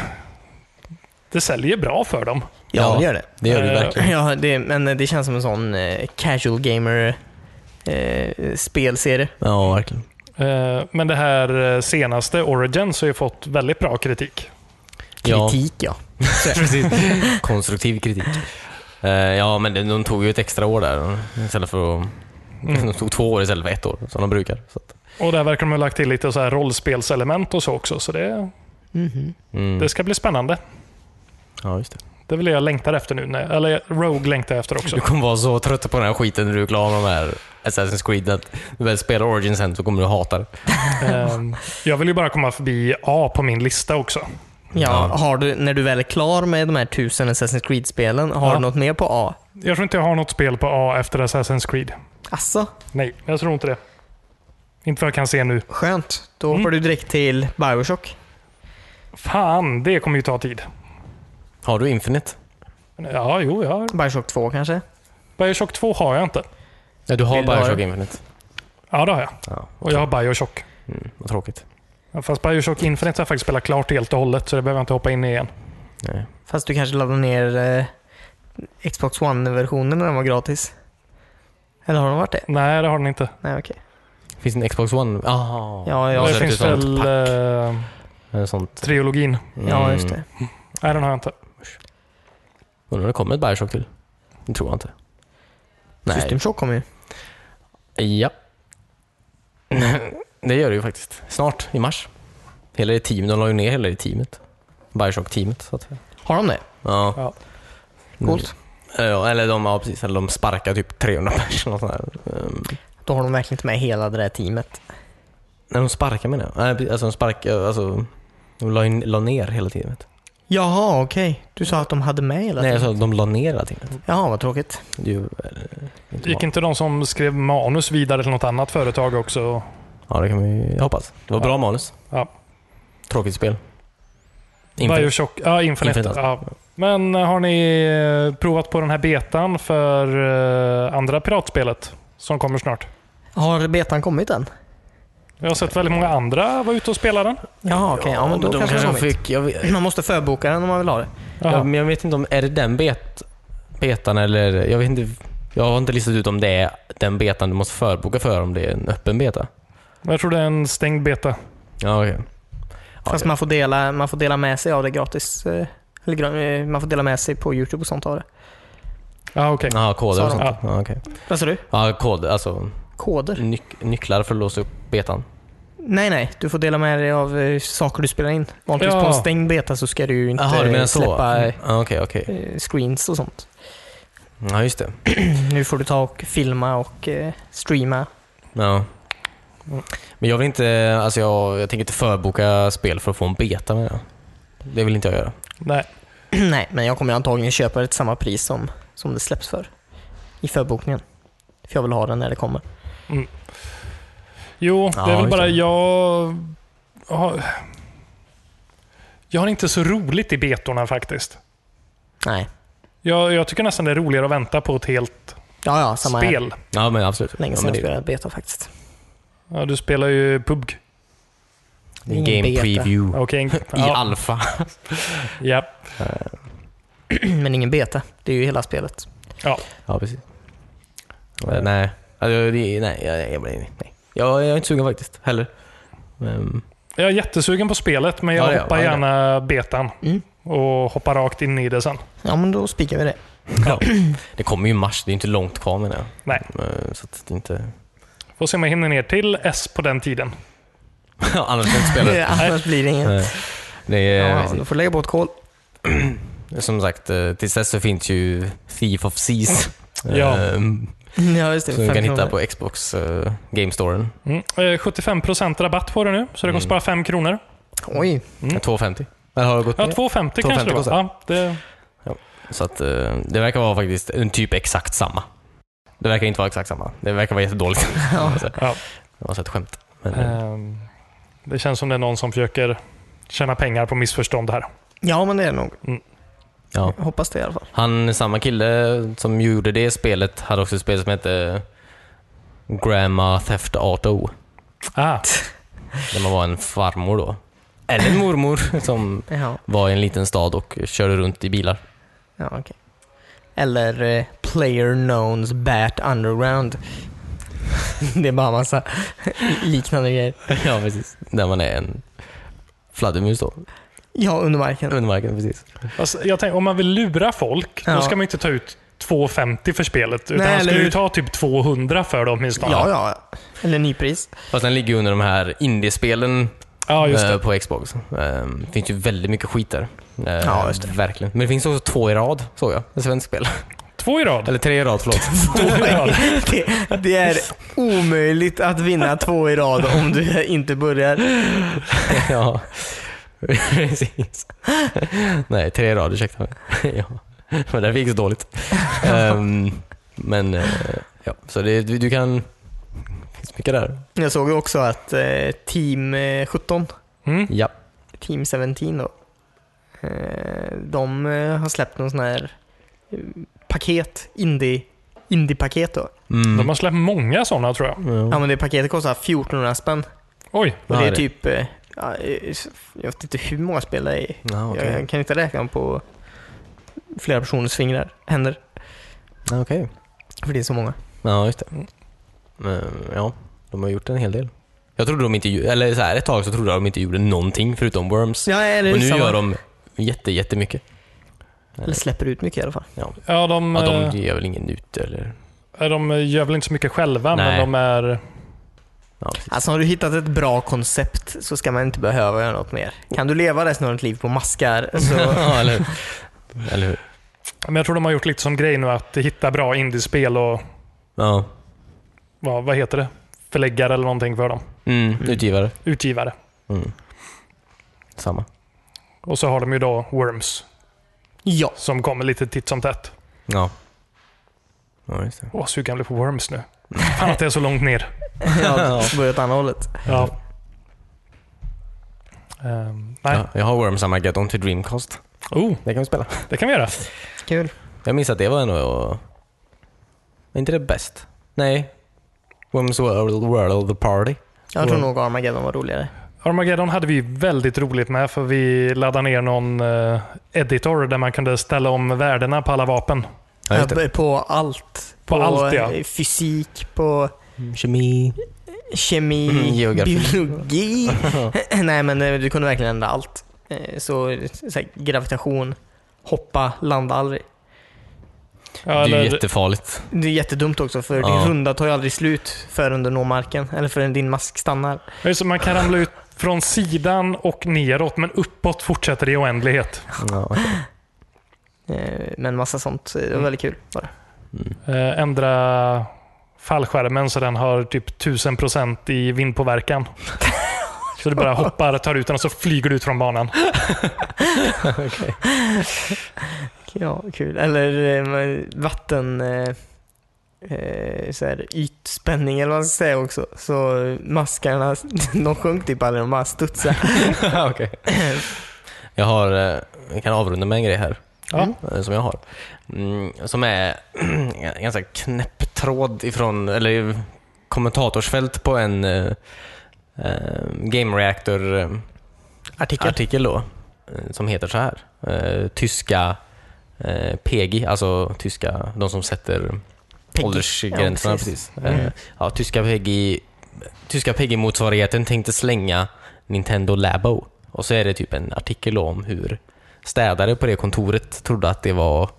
Speaker 3: det säljer bra för dem.
Speaker 1: Ja,
Speaker 2: Ja.
Speaker 1: det gör det.
Speaker 2: Det gör det ju
Speaker 3: Eh,
Speaker 2: verkligen.
Speaker 1: Ja, det, men det känns som en sån eh, casual gamer eh, spelserie.
Speaker 2: Ja, verkligen.
Speaker 3: Eh, Men det här eh, senaste, Origins, har ju fått väldigt bra kritik.
Speaker 2: Ja.
Speaker 1: Kritik ja.
Speaker 2: Precis. Konstruktiv kritik. Eh, ja, men de- de tog ju ett extra år där. Istället för att,
Speaker 3: Mm.
Speaker 2: De tog två år istället för ett år, som de brukar. Så att,
Speaker 3: Och där verkar de ha lagt till lite så här rollspelselement och så också. Så det,
Speaker 1: Mhm.
Speaker 2: mm.
Speaker 3: det ska bli spännande.
Speaker 2: Ja, just det.
Speaker 3: Det är väl det jag längtar efter nu. när- Eller Rogue längtar jag efter också.
Speaker 2: Du kommer vara så trött på den här skiten när du är klar med de här Assassin's Creed. Att du väl spelar Origin sen så kommer du hata det.
Speaker 3: Ehm, jag vill ju bara komma förbi A på min lista också.
Speaker 1: Ja,
Speaker 2: Ja.
Speaker 1: har du, när du väl är klar med de här tusen Assassin's Creed-spelen, har
Speaker 3: Ja.
Speaker 1: du något mer på A?
Speaker 3: Jag tror inte jag har något spel på A efter Assassin's Creed.
Speaker 1: Asså,
Speaker 3: Nej, jag tror inte det. Inte vad jag kan se nu.
Speaker 1: skönt. Då hoppar
Speaker 3: Mm.
Speaker 1: du direkt till Bioshock.
Speaker 3: Fan, det kommer ju ta tid.
Speaker 2: Har du Infinite?
Speaker 3: Ja, jo, jag har...
Speaker 1: Bioshock 2 kanske?
Speaker 3: Bioshock 2 har jag inte.
Speaker 2: Ja, du har
Speaker 1: Vill du ha
Speaker 2: Bioshock
Speaker 1: det?
Speaker 2: Infinite.
Speaker 3: Ja, det har jag.
Speaker 2: Ja,
Speaker 3: Och jag har Bioshock.
Speaker 2: mm, vad tråkigt.
Speaker 3: Ja, Fast Bioshock Infinite har jag faktiskt spelat klart helt och hållet, så det behöver jag inte hoppa in i igen.
Speaker 2: Nej.
Speaker 1: Fast du kanske laddar ner eh, Xbox One-versionen när den var gratis? Eller har den varit det?
Speaker 3: Nej, det har den inte.
Speaker 1: Nej, okej.
Speaker 2: Finns det en Xbox One? Aha.
Speaker 1: Ja, ja.
Speaker 2: Jag har
Speaker 3: det
Speaker 2: sett
Speaker 3: finns
Speaker 2: ut som ett
Speaker 3: väl
Speaker 2: typ pack.
Speaker 3: eh,
Speaker 2: Eller sånt.
Speaker 3: trilogin.
Speaker 1: Ja,
Speaker 2: Mm.
Speaker 1: just det.
Speaker 3: Nej, den har jag inte.
Speaker 2: Undrar om det kommer ett Bioshock till? Det tror jag inte.
Speaker 1: System Shock kommer ju.
Speaker 2: Ja. det gör det ju faktiskt. Snart, i mars. Hela det teamet. De la ju ner hela det teamet. Bioshock-teamet, så att säga.
Speaker 1: Har de det?
Speaker 2: Ja.
Speaker 3: Ja.
Speaker 2: Mm.
Speaker 1: Coolt.
Speaker 2: Ja, eller de, ja, precis. Eller de sparkar typ 300 personer och sånt där. Ehm,
Speaker 1: Då har de verkligen inte med hela det där teamet.
Speaker 2: Nej, de sparkar menar jag. Nej, precis, Alltså de sparkar, alltså. De la, in, la ner hela teamet.
Speaker 1: Jaha, okej. Du sa att de hade med hela
Speaker 2: Nej, jag
Speaker 1: teamet.
Speaker 2: sa att de la ner hela teamet.
Speaker 1: Jaha, vad tråkigt.
Speaker 2: Det är ju, eh, inte bra.
Speaker 3: Gick inte de som skrev manus vidare till något annat företag också?
Speaker 2: Ja, det kan vi hoppas. Det var bra manus.
Speaker 3: Ja.
Speaker 2: Tråkigt spel. Infinite.
Speaker 3: Bioshock, ja, Infinite.
Speaker 2: Infinite.
Speaker 3: Ja. Men har ni eh, provat på den här betan för eh, andra piratspelet som kommer snart?
Speaker 1: Har betan kommit än?
Speaker 3: Jag har sett väldigt många andra vara ute och spela den.
Speaker 1: Jaha, okej. Ja, men då
Speaker 2: de
Speaker 1: kanske,
Speaker 2: kanske
Speaker 1: de fick.
Speaker 2: fick... Jag vet,
Speaker 1: Man måste förboka den om man vill ha det.
Speaker 2: jag,
Speaker 3: Jaha.
Speaker 2: men jag vet inte om... Är det den bet, betan eller... Jag vet inte. Jag har inte listat ut om det är den betan du måste förboka för, om det är en öppen beta.
Speaker 3: Jag tror det är en stängd beta.
Speaker 2: Ja, okej. Ja,
Speaker 1: Fast
Speaker 2: det-
Speaker 1: man får, dela, man får dela med sig av det gratis. eh, Eller, gra- eh, man får dela med sig på YouTube och sånt av det.
Speaker 3: Ja, okej.
Speaker 2: Ja, koder och
Speaker 1: Sa
Speaker 2: sånt.
Speaker 3: de?
Speaker 2: Ja, okej.
Speaker 1: Vad sa du?
Speaker 2: Ja, kod. Alltså
Speaker 1: Koder?
Speaker 2: nyc- nycklar för att låsa upp betan.
Speaker 1: Nej, nej. Du får dela med dig av eh, saker du spelar in. Vanligtvis
Speaker 3: Ja.
Speaker 1: på en stängd beta så ska du ju inte
Speaker 2: Jaha, du menar så? Mm.
Speaker 1: släppa eh,
Speaker 2: Ja, Okej, okej.
Speaker 1: screens och sånt.
Speaker 2: Ja, just det.
Speaker 1: Nu får du ta och filma och eh, streama.
Speaker 2: Ja. Men jag vill inte, alltså jag, jag tänker inte förboka spel för att få en beta med jag. Det vill inte jag göra.
Speaker 3: Nej.
Speaker 1: nej, men jag kommer ju antagligen köpa det till samma pris som, som det släpps för. I förbokningen. För jag vill ha den när det kommer.
Speaker 3: Jo,
Speaker 2: Ja,
Speaker 3: det är väl
Speaker 2: just
Speaker 3: bara
Speaker 2: det.
Speaker 3: jag... Har... Jag har inte så roligt i betorna faktiskt.
Speaker 1: Nej.
Speaker 3: Jag, jag tycker nästan det är roligare att vänta på ett helt
Speaker 1: Ja, ja, samma här.
Speaker 3: spel.
Speaker 2: Ja, men absolut.
Speaker 1: Länge
Speaker 2: ja,
Speaker 1: sedan
Speaker 2: men
Speaker 1: jag
Speaker 2: det,
Speaker 1: spelade beta faktiskt.
Speaker 3: Ja, du spelar ju PUBG.
Speaker 2: det är
Speaker 1: Ingen
Speaker 2: game
Speaker 1: beta.
Speaker 2: preview.
Speaker 3: Okej.
Speaker 2: I
Speaker 3: Ja,
Speaker 2: alfa.
Speaker 3: ja.
Speaker 1: Men ingen beta. Det är ju hela spelet.
Speaker 2: Ja, precis. Eh, nej. Alltså, det, nej, jag, jag, nej, nej. Jag, jag är inte sugen faktiskt, heller. Ehm, Men,
Speaker 3: Jag är jättesugen på spelet, men jag
Speaker 2: Ja, det är jag.
Speaker 3: hoppar
Speaker 2: Ja, det är
Speaker 3: gärna betan
Speaker 1: Mm.
Speaker 3: och hoppar rakt in i det sen.
Speaker 1: Ja, men då spikar vi det.
Speaker 2: ja. Det kommer ju i mars, det är inte långt kvar menar jag.
Speaker 3: Nej.
Speaker 2: Eh, Så att det inte...
Speaker 3: Får se om jag hinner ner till S på den tiden.
Speaker 2: Annars kan jag inte spela det.
Speaker 1: Annars blir det ingen.
Speaker 2: Eh, Det är,
Speaker 1: Ja, du får lägga på ett kol.
Speaker 2: Som sagt, eh, tills dess så finns ju Thief of Seas.
Speaker 3: Ja.
Speaker 2: Eh,
Speaker 1: Ja, just det.
Speaker 2: Som du
Speaker 1: fem
Speaker 2: kan hitta
Speaker 1: kronor.
Speaker 2: på Xbox eh, Game Storen.
Speaker 3: Mm. Eh, 75% rabatt på det nu, så det kostar bara 5 kronor.
Speaker 1: Oj.
Speaker 2: 2,50. Eller har det gått
Speaker 3: Mm. Ja,
Speaker 2: ner?
Speaker 3: 2,50 kanske det var.
Speaker 2: kostar det.
Speaker 3: Ja, det,
Speaker 2: Så att, eh, det verkar vara faktiskt en typ exakt samma. Det verkar inte vara exakt samma. Det verkar vara jättedåligt.
Speaker 1: Ja.
Speaker 3: ja.
Speaker 2: Det var så ett skämt. Men, eh,
Speaker 3: Ehm, det känns som det är någon som försöker tjäna pengar på missförstånd här.
Speaker 1: Ja, men det är det nog.
Speaker 2: ja.
Speaker 1: Jag hoppas det i alla fall.
Speaker 2: Han, samma kille som gjorde det spelet, hade också ett spel som hette eh, Grandma Theft Auto.
Speaker 3: Ah,
Speaker 2: Där man var en farmor då. Eller en mormor som
Speaker 1: Ja,
Speaker 2: var i en liten stad och körde runt i bilar.
Speaker 1: ja okej. Eller eh, Player Knowns Bat Underground. det är bara massa liknande grejer.
Speaker 2: ja, precis. Där man är en fladdermus då.
Speaker 1: Ja, under marken.
Speaker 2: Under marken, precis.
Speaker 3: alltså, jag tänk, om man vill lura folk,
Speaker 1: Ja.
Speaker 3: då ska man ju inte ta ut 2,50 för spelet. Utan
Speaker 1: Nej,
Speaker 3: man ska
Speaker 1: eller
Speaker 3: ju
Speaker 1: hur?
Speaker 3: ta typ 200 för det åtminstone.
Speaker 1: Ja, ja. Eller nypris.
Speaker 2: Fast den ligger ju under de här indiespelen
Speaker 3: Ja, just
Speaker 2: eh,
Speaker 3: det.
Speaker 2: på Xbox. Eh, Det finns ju väldigt mycket skit där. Eh,
Speaker 1: Ja, just det.
Speaker 2: Verkligen. Men det finns också två i rad, såg jag. Ett svenskt spel.
Speaker 3: Två i rad.
Speaker 2: Eller tre i rad, förlåt.
Speaker 3: Två i rad.
Speaker 1: Det, det är omöjligt att vinna två i rad om du inte börjar.
Speaker 2: ja. precis. Nej, tre i rad, ursäkta mig. ja. Men det gick så dåligt. Ehm, men eh, ja, så det, du, du kan... Det finns mycket där.
Speaker 1: Jag såg ju också att eh, Team eh, 17,
Speaker 3: Mm.
Speaker 2: Ja.
Speaker 1: Team 17 då, eh, de eh, har släppt någon sån här eh, paket, indie, indie-paket då.
Speaker 2: Mm.
Speaker 3: De har släppt många sådana tror jag.
Speaker 1: Ja men det paketet kostar 1400 spänn.
Speaker 3: Oj.
Speaker 1: Och
Speaker 2: Vad
Speaker 1: det
Speaker 2: är
Speaker 1: är
Speaker 2: det?
Speaker 1: typ, eh, ja, eh, jag vet inte hur många spel det är.
Speaker 2: Ja, okej.
Speaker 1: Jag kan inte räkna dem på flera personers fingrar, händer.
Speaker 2: Ja, okej.
Speaker 1: För det är så många.
Speaker 2: Ja, just det. Men, ja, de har gjort en hel del. Jag trodde de inte, gjo- eller så här, ett tag så trodde jag de inte gjorde någonting förutom Worms.
Speaker 1: Ja, eller,
Speaker 2: och nu
Speaker 1: samma-
Speaker 2: gör de jätte, jättemycket.
Speaker 1: liksom- eller släpper ut mycket i alla fall.
Speaker 2: Ja.
Speaker 3: Ja, de,
Speaker 2: Ja, de gör väl ingen ut eller...
Speaker 3: eh, de gör väl inte så mycket själva, men
Speaker 2: Nej.
Speaker 3: de är...
Speaker 2: Ja, precis.
Speaker 1: Alltså har du hittat ett bra koncept så ska man inte behöva göra något mer. Kan du leva resten av ditt liv på maskar så...
Speaker 2: ja, eller hur? Eller hur?
Speaker 3: Men jag tror de har gjort lite som grej nu att hitta bra indiespel och
Speaker 2: Ja.
Speaker 3: vad, vad heter det? Förläggare eller någonting för dem.
Speaker 2: Mm, utgivare.
Speaker 3: Utgivare.
Speaker 2: Mm. Samma.
Speaker 3: Och så har de ju då Worms
Speaker 1: Ja.
Speaker 3: som kommer lite titt som tätt.
Speaker 2: Ja. Ja, just det.
Speaker 3: Åh, sugen jag blir på Worms nu. Fan att det är så långt ner.
Speaker 1: ja, så börjar åt andra hållet.
Speaker 3: Ja. Ehm, nej.
Speaker 2: Ja, jag har Worms Armageddon till Dreamcast.
Speaker 3: Oh,
Speaker 2: Det kan vi spela.
Speaker 3: det kan vi göra.
Speaker 1: Kul.
Speaker 2: Jag minns att det var ändå... Och... Var inte det bäst? Nej. Worms World, World of the Party.
Speaker 1: Jag tror nog Armageddon var roligare.
Speaker 3: Armageddon hade vi väldigt roligt med för vi laddade ner någon eh, editor där man kunde ställa om värdena på alla vapen.
Speaker 2: Ja, just det.
Speaker 1: Eh, På allt.
Speaker 3: På allt, ja.
Speaker 1: eh, fysik, på
Speaker 2: Mm, Kemi.
Speaker 1: kemi,
Speaker 2: Mm, geografi.
Speaker 1: biologi. Nej men eh, du kunde verkligen ändra allt. Eh, Så, så här, gravitation, hoppa, landa aldrig.
Speaker 2: Det
Speaker 3: Ja,
Speaker 2: är ju
Speaker 3: eller,
Speaker 2: jättefarligt.
Speaker 1: Det är jättedumt också för
Speaker 2: Ja.
Speaker 1: din runda tar ju aldrig slut förrän du når marken. Eller förrän din mask stannar.
Speaker 3: Ja, så man kan ramla ut från sidan och neråt men uppåt fortsätter det i oändlighet.
Speaker 2: Ja, okej.
Speaker 1: Eh, Men massa sånt. eh, Det var
Speaker 2: Mm.
Speaker 1: väldigt kul. Var det.
Speaker 3: Eh, ändra fallskärmen så den har typ 1000% i vindpåverkan. Så du bara hoppar, tar ut den och så flyger du ut från banan.
Speaker 1: Ja, kul. Eller eh, men vatten... eh, eh, Så här, ytspänning eller vad man ska säga också. Så eh, maskarna, de sjönk typ aldrig, de bara studsade.
Speaker 2: Ja, okej. Jag har... eh, Jag kan avrunda med en grej här.
Speaker 3: Ja.
Speaker 2: eh, som jag har. Mm, som är ganska knäpp tråd ifrån, eller kommentatorsfält på en eh, eh, Game Reactor eh,
Speaker 1: Artikel.
Speaker 2: artikel då, eh, som heter så här. Eh, tyska eh, PG, alltså tyska, de som sätter
Speaker 1: Peggy.
Speaker 2: åldersgränserna.
Speaker 1: Ja,
Speaker 2: precis.
Speaker 1: precis. Mm.
Speaker 2: Eh, ja, tyska PG, tyska PG-motsvarigheten tänkte slänga Nintendo Labo. Och så är det typ en artikel då om hur städare på det kontoret trodde att det var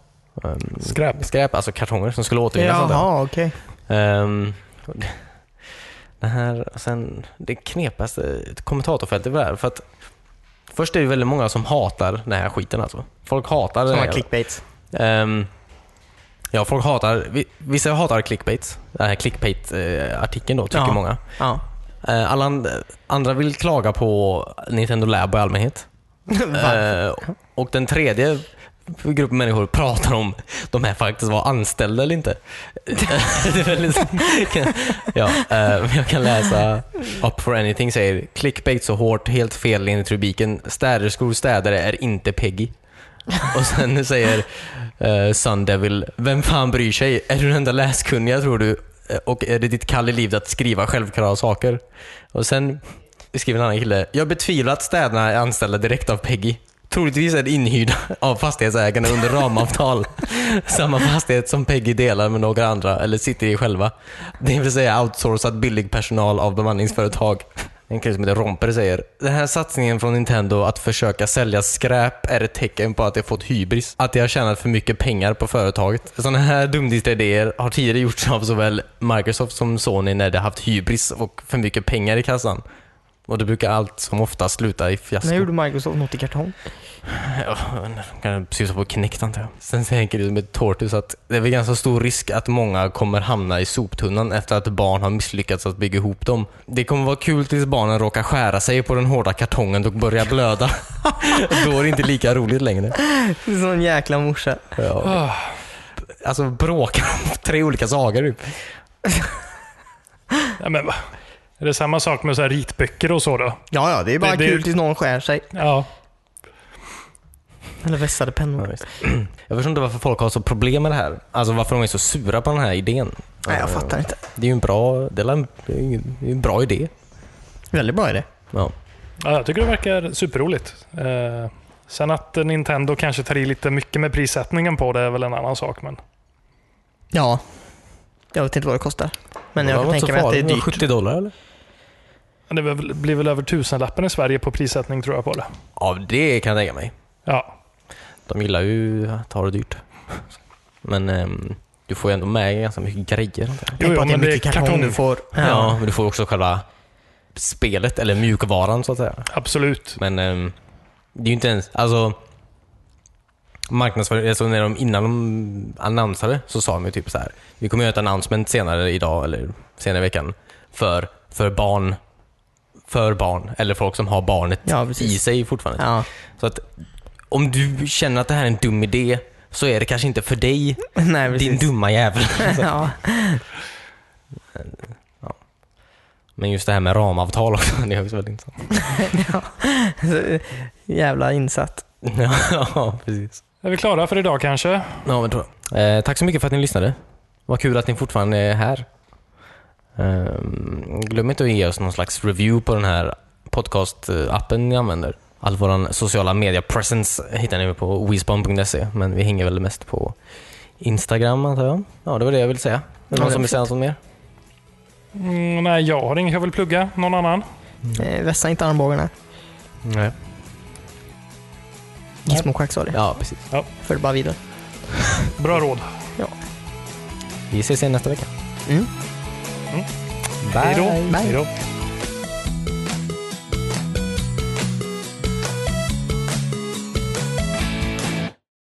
Speaker 2: ehm,
Speaker 3: Skräp.
Speaker 2: skräp, alltså kartonger som skulle återvinnas. av dem.
Speaker 1: Jaha, okej.
Speaker 2: Ehm, och det- det här, sen det knepigaste kommentatorfältet var det här, för att först är det väldigt många som hatar den här skiten alltså. Folk hatar den
Speaker 1: Sådana
Speaker 2: här.
Speaker 1: clickbaits.
Speaker 2: Ehm, ja, folk hatar, vi- vissa hatar clickbait, den här clickbait-artikeln då tycker
Speaker 1: Ja.
Speaker 2: många.
Speaker 1: Ja.
Speaker 2: Eh, alla and- andra vill klaga på Nintendo Lab i allmänhet. Eh, och den tredje gruppen människor pratar om de här faktiskt var anställda eller inte. det är väldigt, ja, eh, men jag kan läsa Up for anything säger clickbait så hårt, helt fel enligt rubriken. Städerskor städare är inte Peggy. Och sen säger eh, Sun Devil, vem fan bryr sig? Är du den enda läskunniga tror du? Eh, Och är det ditt kall i livet att skriva självklara saker? Och sen skriver en annan kille, jag betvivlar att städarna är anställda direkt av Peggy. Troligtvis är det inhyrda av fastighetsägarna under ramavtal. Samma fastighet som Peggy delar med några andra eller sitter i själva. Det vill säga outsourcad billig personal av bemanningsföretag. En kille som heter Romper säger Den här satsningen från Nintendo att försöka sälja skräp är ett tecken på att de fått hybris. Att de har tjänat för mycket pengar på företaget. Sådana här dumdristiga idéer har tidigare gjorts av såväl Microsoft som Sony när de haft hybris och för mycket pengar i kassan. Och det brukar allt som ofta sluta i fiasko.
Speaker 1: Nu gjorde Microsoft något i kartong.
Speaker 2: Ja, de kan syssa på knäckt antar jag. Sen tänker du med Tortus att det är väl ganska stor risk att många kommer hamna i soptunnan efter att barn har misslyckats att bygga ihop dem. Det kommer vara kul tills barnen råkar skära sig på den hårda kartongen och börjar blöda. Då är det inte lika roligt längre.
Speaker 1: Sån jäkla morsa.
Speaker 2: Ja.
Speaker 3: Ah,
Speaker 2: Alltså bråka om tre olika saker typ.
Speaker 3: ja, men, va? är det samma sak med så här ritböcker och så då?
Speaker 1: Ja, ja, det är bara
Speaker 3: Det- det-
Speaker 1: kul tills någon skär sig.
Speaker 3: Ja.
Speaker 1: Eller vässade pennor.
Speaker 2: Jag förstår inte varför folk har så problem med det här. Alltså varför de är så sura på den här idén.
Speaker 1: Nej, jag fattar inte.
Speaker 2: Det är ju en bra, det är en, det är en- det är en bra idé.
Speaker 1: Väldigt bra idé.
Speaker 2: Ja.
Speaker 3: Ja, jag tycker det verkar superroligt. Eh, sen att eh, Nintendo kanske tar i lite mycket med prissättningen på det är väl en annan sak. Men
Speaker 1: Ja. Jag vet inte vad det kostar. Men jag kan tänka mig att det är dyrt.
Speaker 2: 70 dollar eller?
Speaker 3: det blir väl- blir väl över tusenlappen i Sverige på prissättning tror jag på det.
Speaker 2: Ja, det kan jag tänka mig.
Speaker 3: Ja,
Speaker 2: De gillar ju att ha det dyrt. Men ehm, du får ju ändå med ganska mycket grejer. antar jag.
Speaker 3: Jo,
Speaker 1: Tänk
Speaker 3: jo,
Speaker 1: på att det är
Speaker 3: men det är
Speaker 1: mycket kartong,
Speaker 3: kartong.
Speaker 1: du får.
Speaker 2: Ja. ja, men du får också själva spelet, eller mjukvaran så att säga.
Speaker 3: absolut.
Speaker 2: Men ehm, det är ju inte ens, alltså marknadsföring, alltså när de, innan de annonsade så sa de ju typ så här. Vi kommer göra ett announcement senare idag eller senare i veckan för, för barn. För barn, eller folk som har barnet
Speaker 1: Ja,
Speaker 2: i
Speaker 1: precis.
Speaker 2: sig fortfarande.
Speaker 1: Ja.
Speaker 2: Så att om du känner att det här är en dum idé så är det kanske inte för dig,
Speaker 1: Nej, precis.
Speaker 2: din alltså. dumma jävel.
Speaker 1: ja.
Speaker 2: Men just det här med ramavtal också, det är också väldigt intressant.
Speaker 1: Jävla insatt.
Speaker 2: ja, precis.
Speaker 3: Är vi klara för idag kanske?
Speaker 2: Ja, men då. Eh, tack så mycket för att ni lyssnade. Vad kul att ni fortfarande är här. Ehm, glöm inte att ge oss någon slags review på den här podcast-appen ni använder. All vår sociala media presence hittar ni på wisbon.se, men vi hänger väl mest på Instagram antar jag. Ja, det var det jag ville säga. Är det
Speaker 1: Ja,
Speaker 2: någon
Speaker 1: det
Speaker 2: som
Speaker 1: är
Speaker 2: vill säga något mer?
Speaker 3: Mm, nej, jag har inget jag vill plugga. Någon annan?
Speaker 1: Eh, vässa inte armbågarna.
Speaker 2: Nej.
Speaker 1: Gizmoschack sa det.
Speaker 2: Ja, precis.
Speaker 1: För bara vidare.
Speaker 3: Bra råd.
Speaker 2: Vi ses igen nästa vecka.
Speaker 1: Mm.
Speaker 2: Bye.
Speaker 3: Hej då.
Speaker 1: Bye.
Speaker 3: Hej då.
Speaker 1: Bye.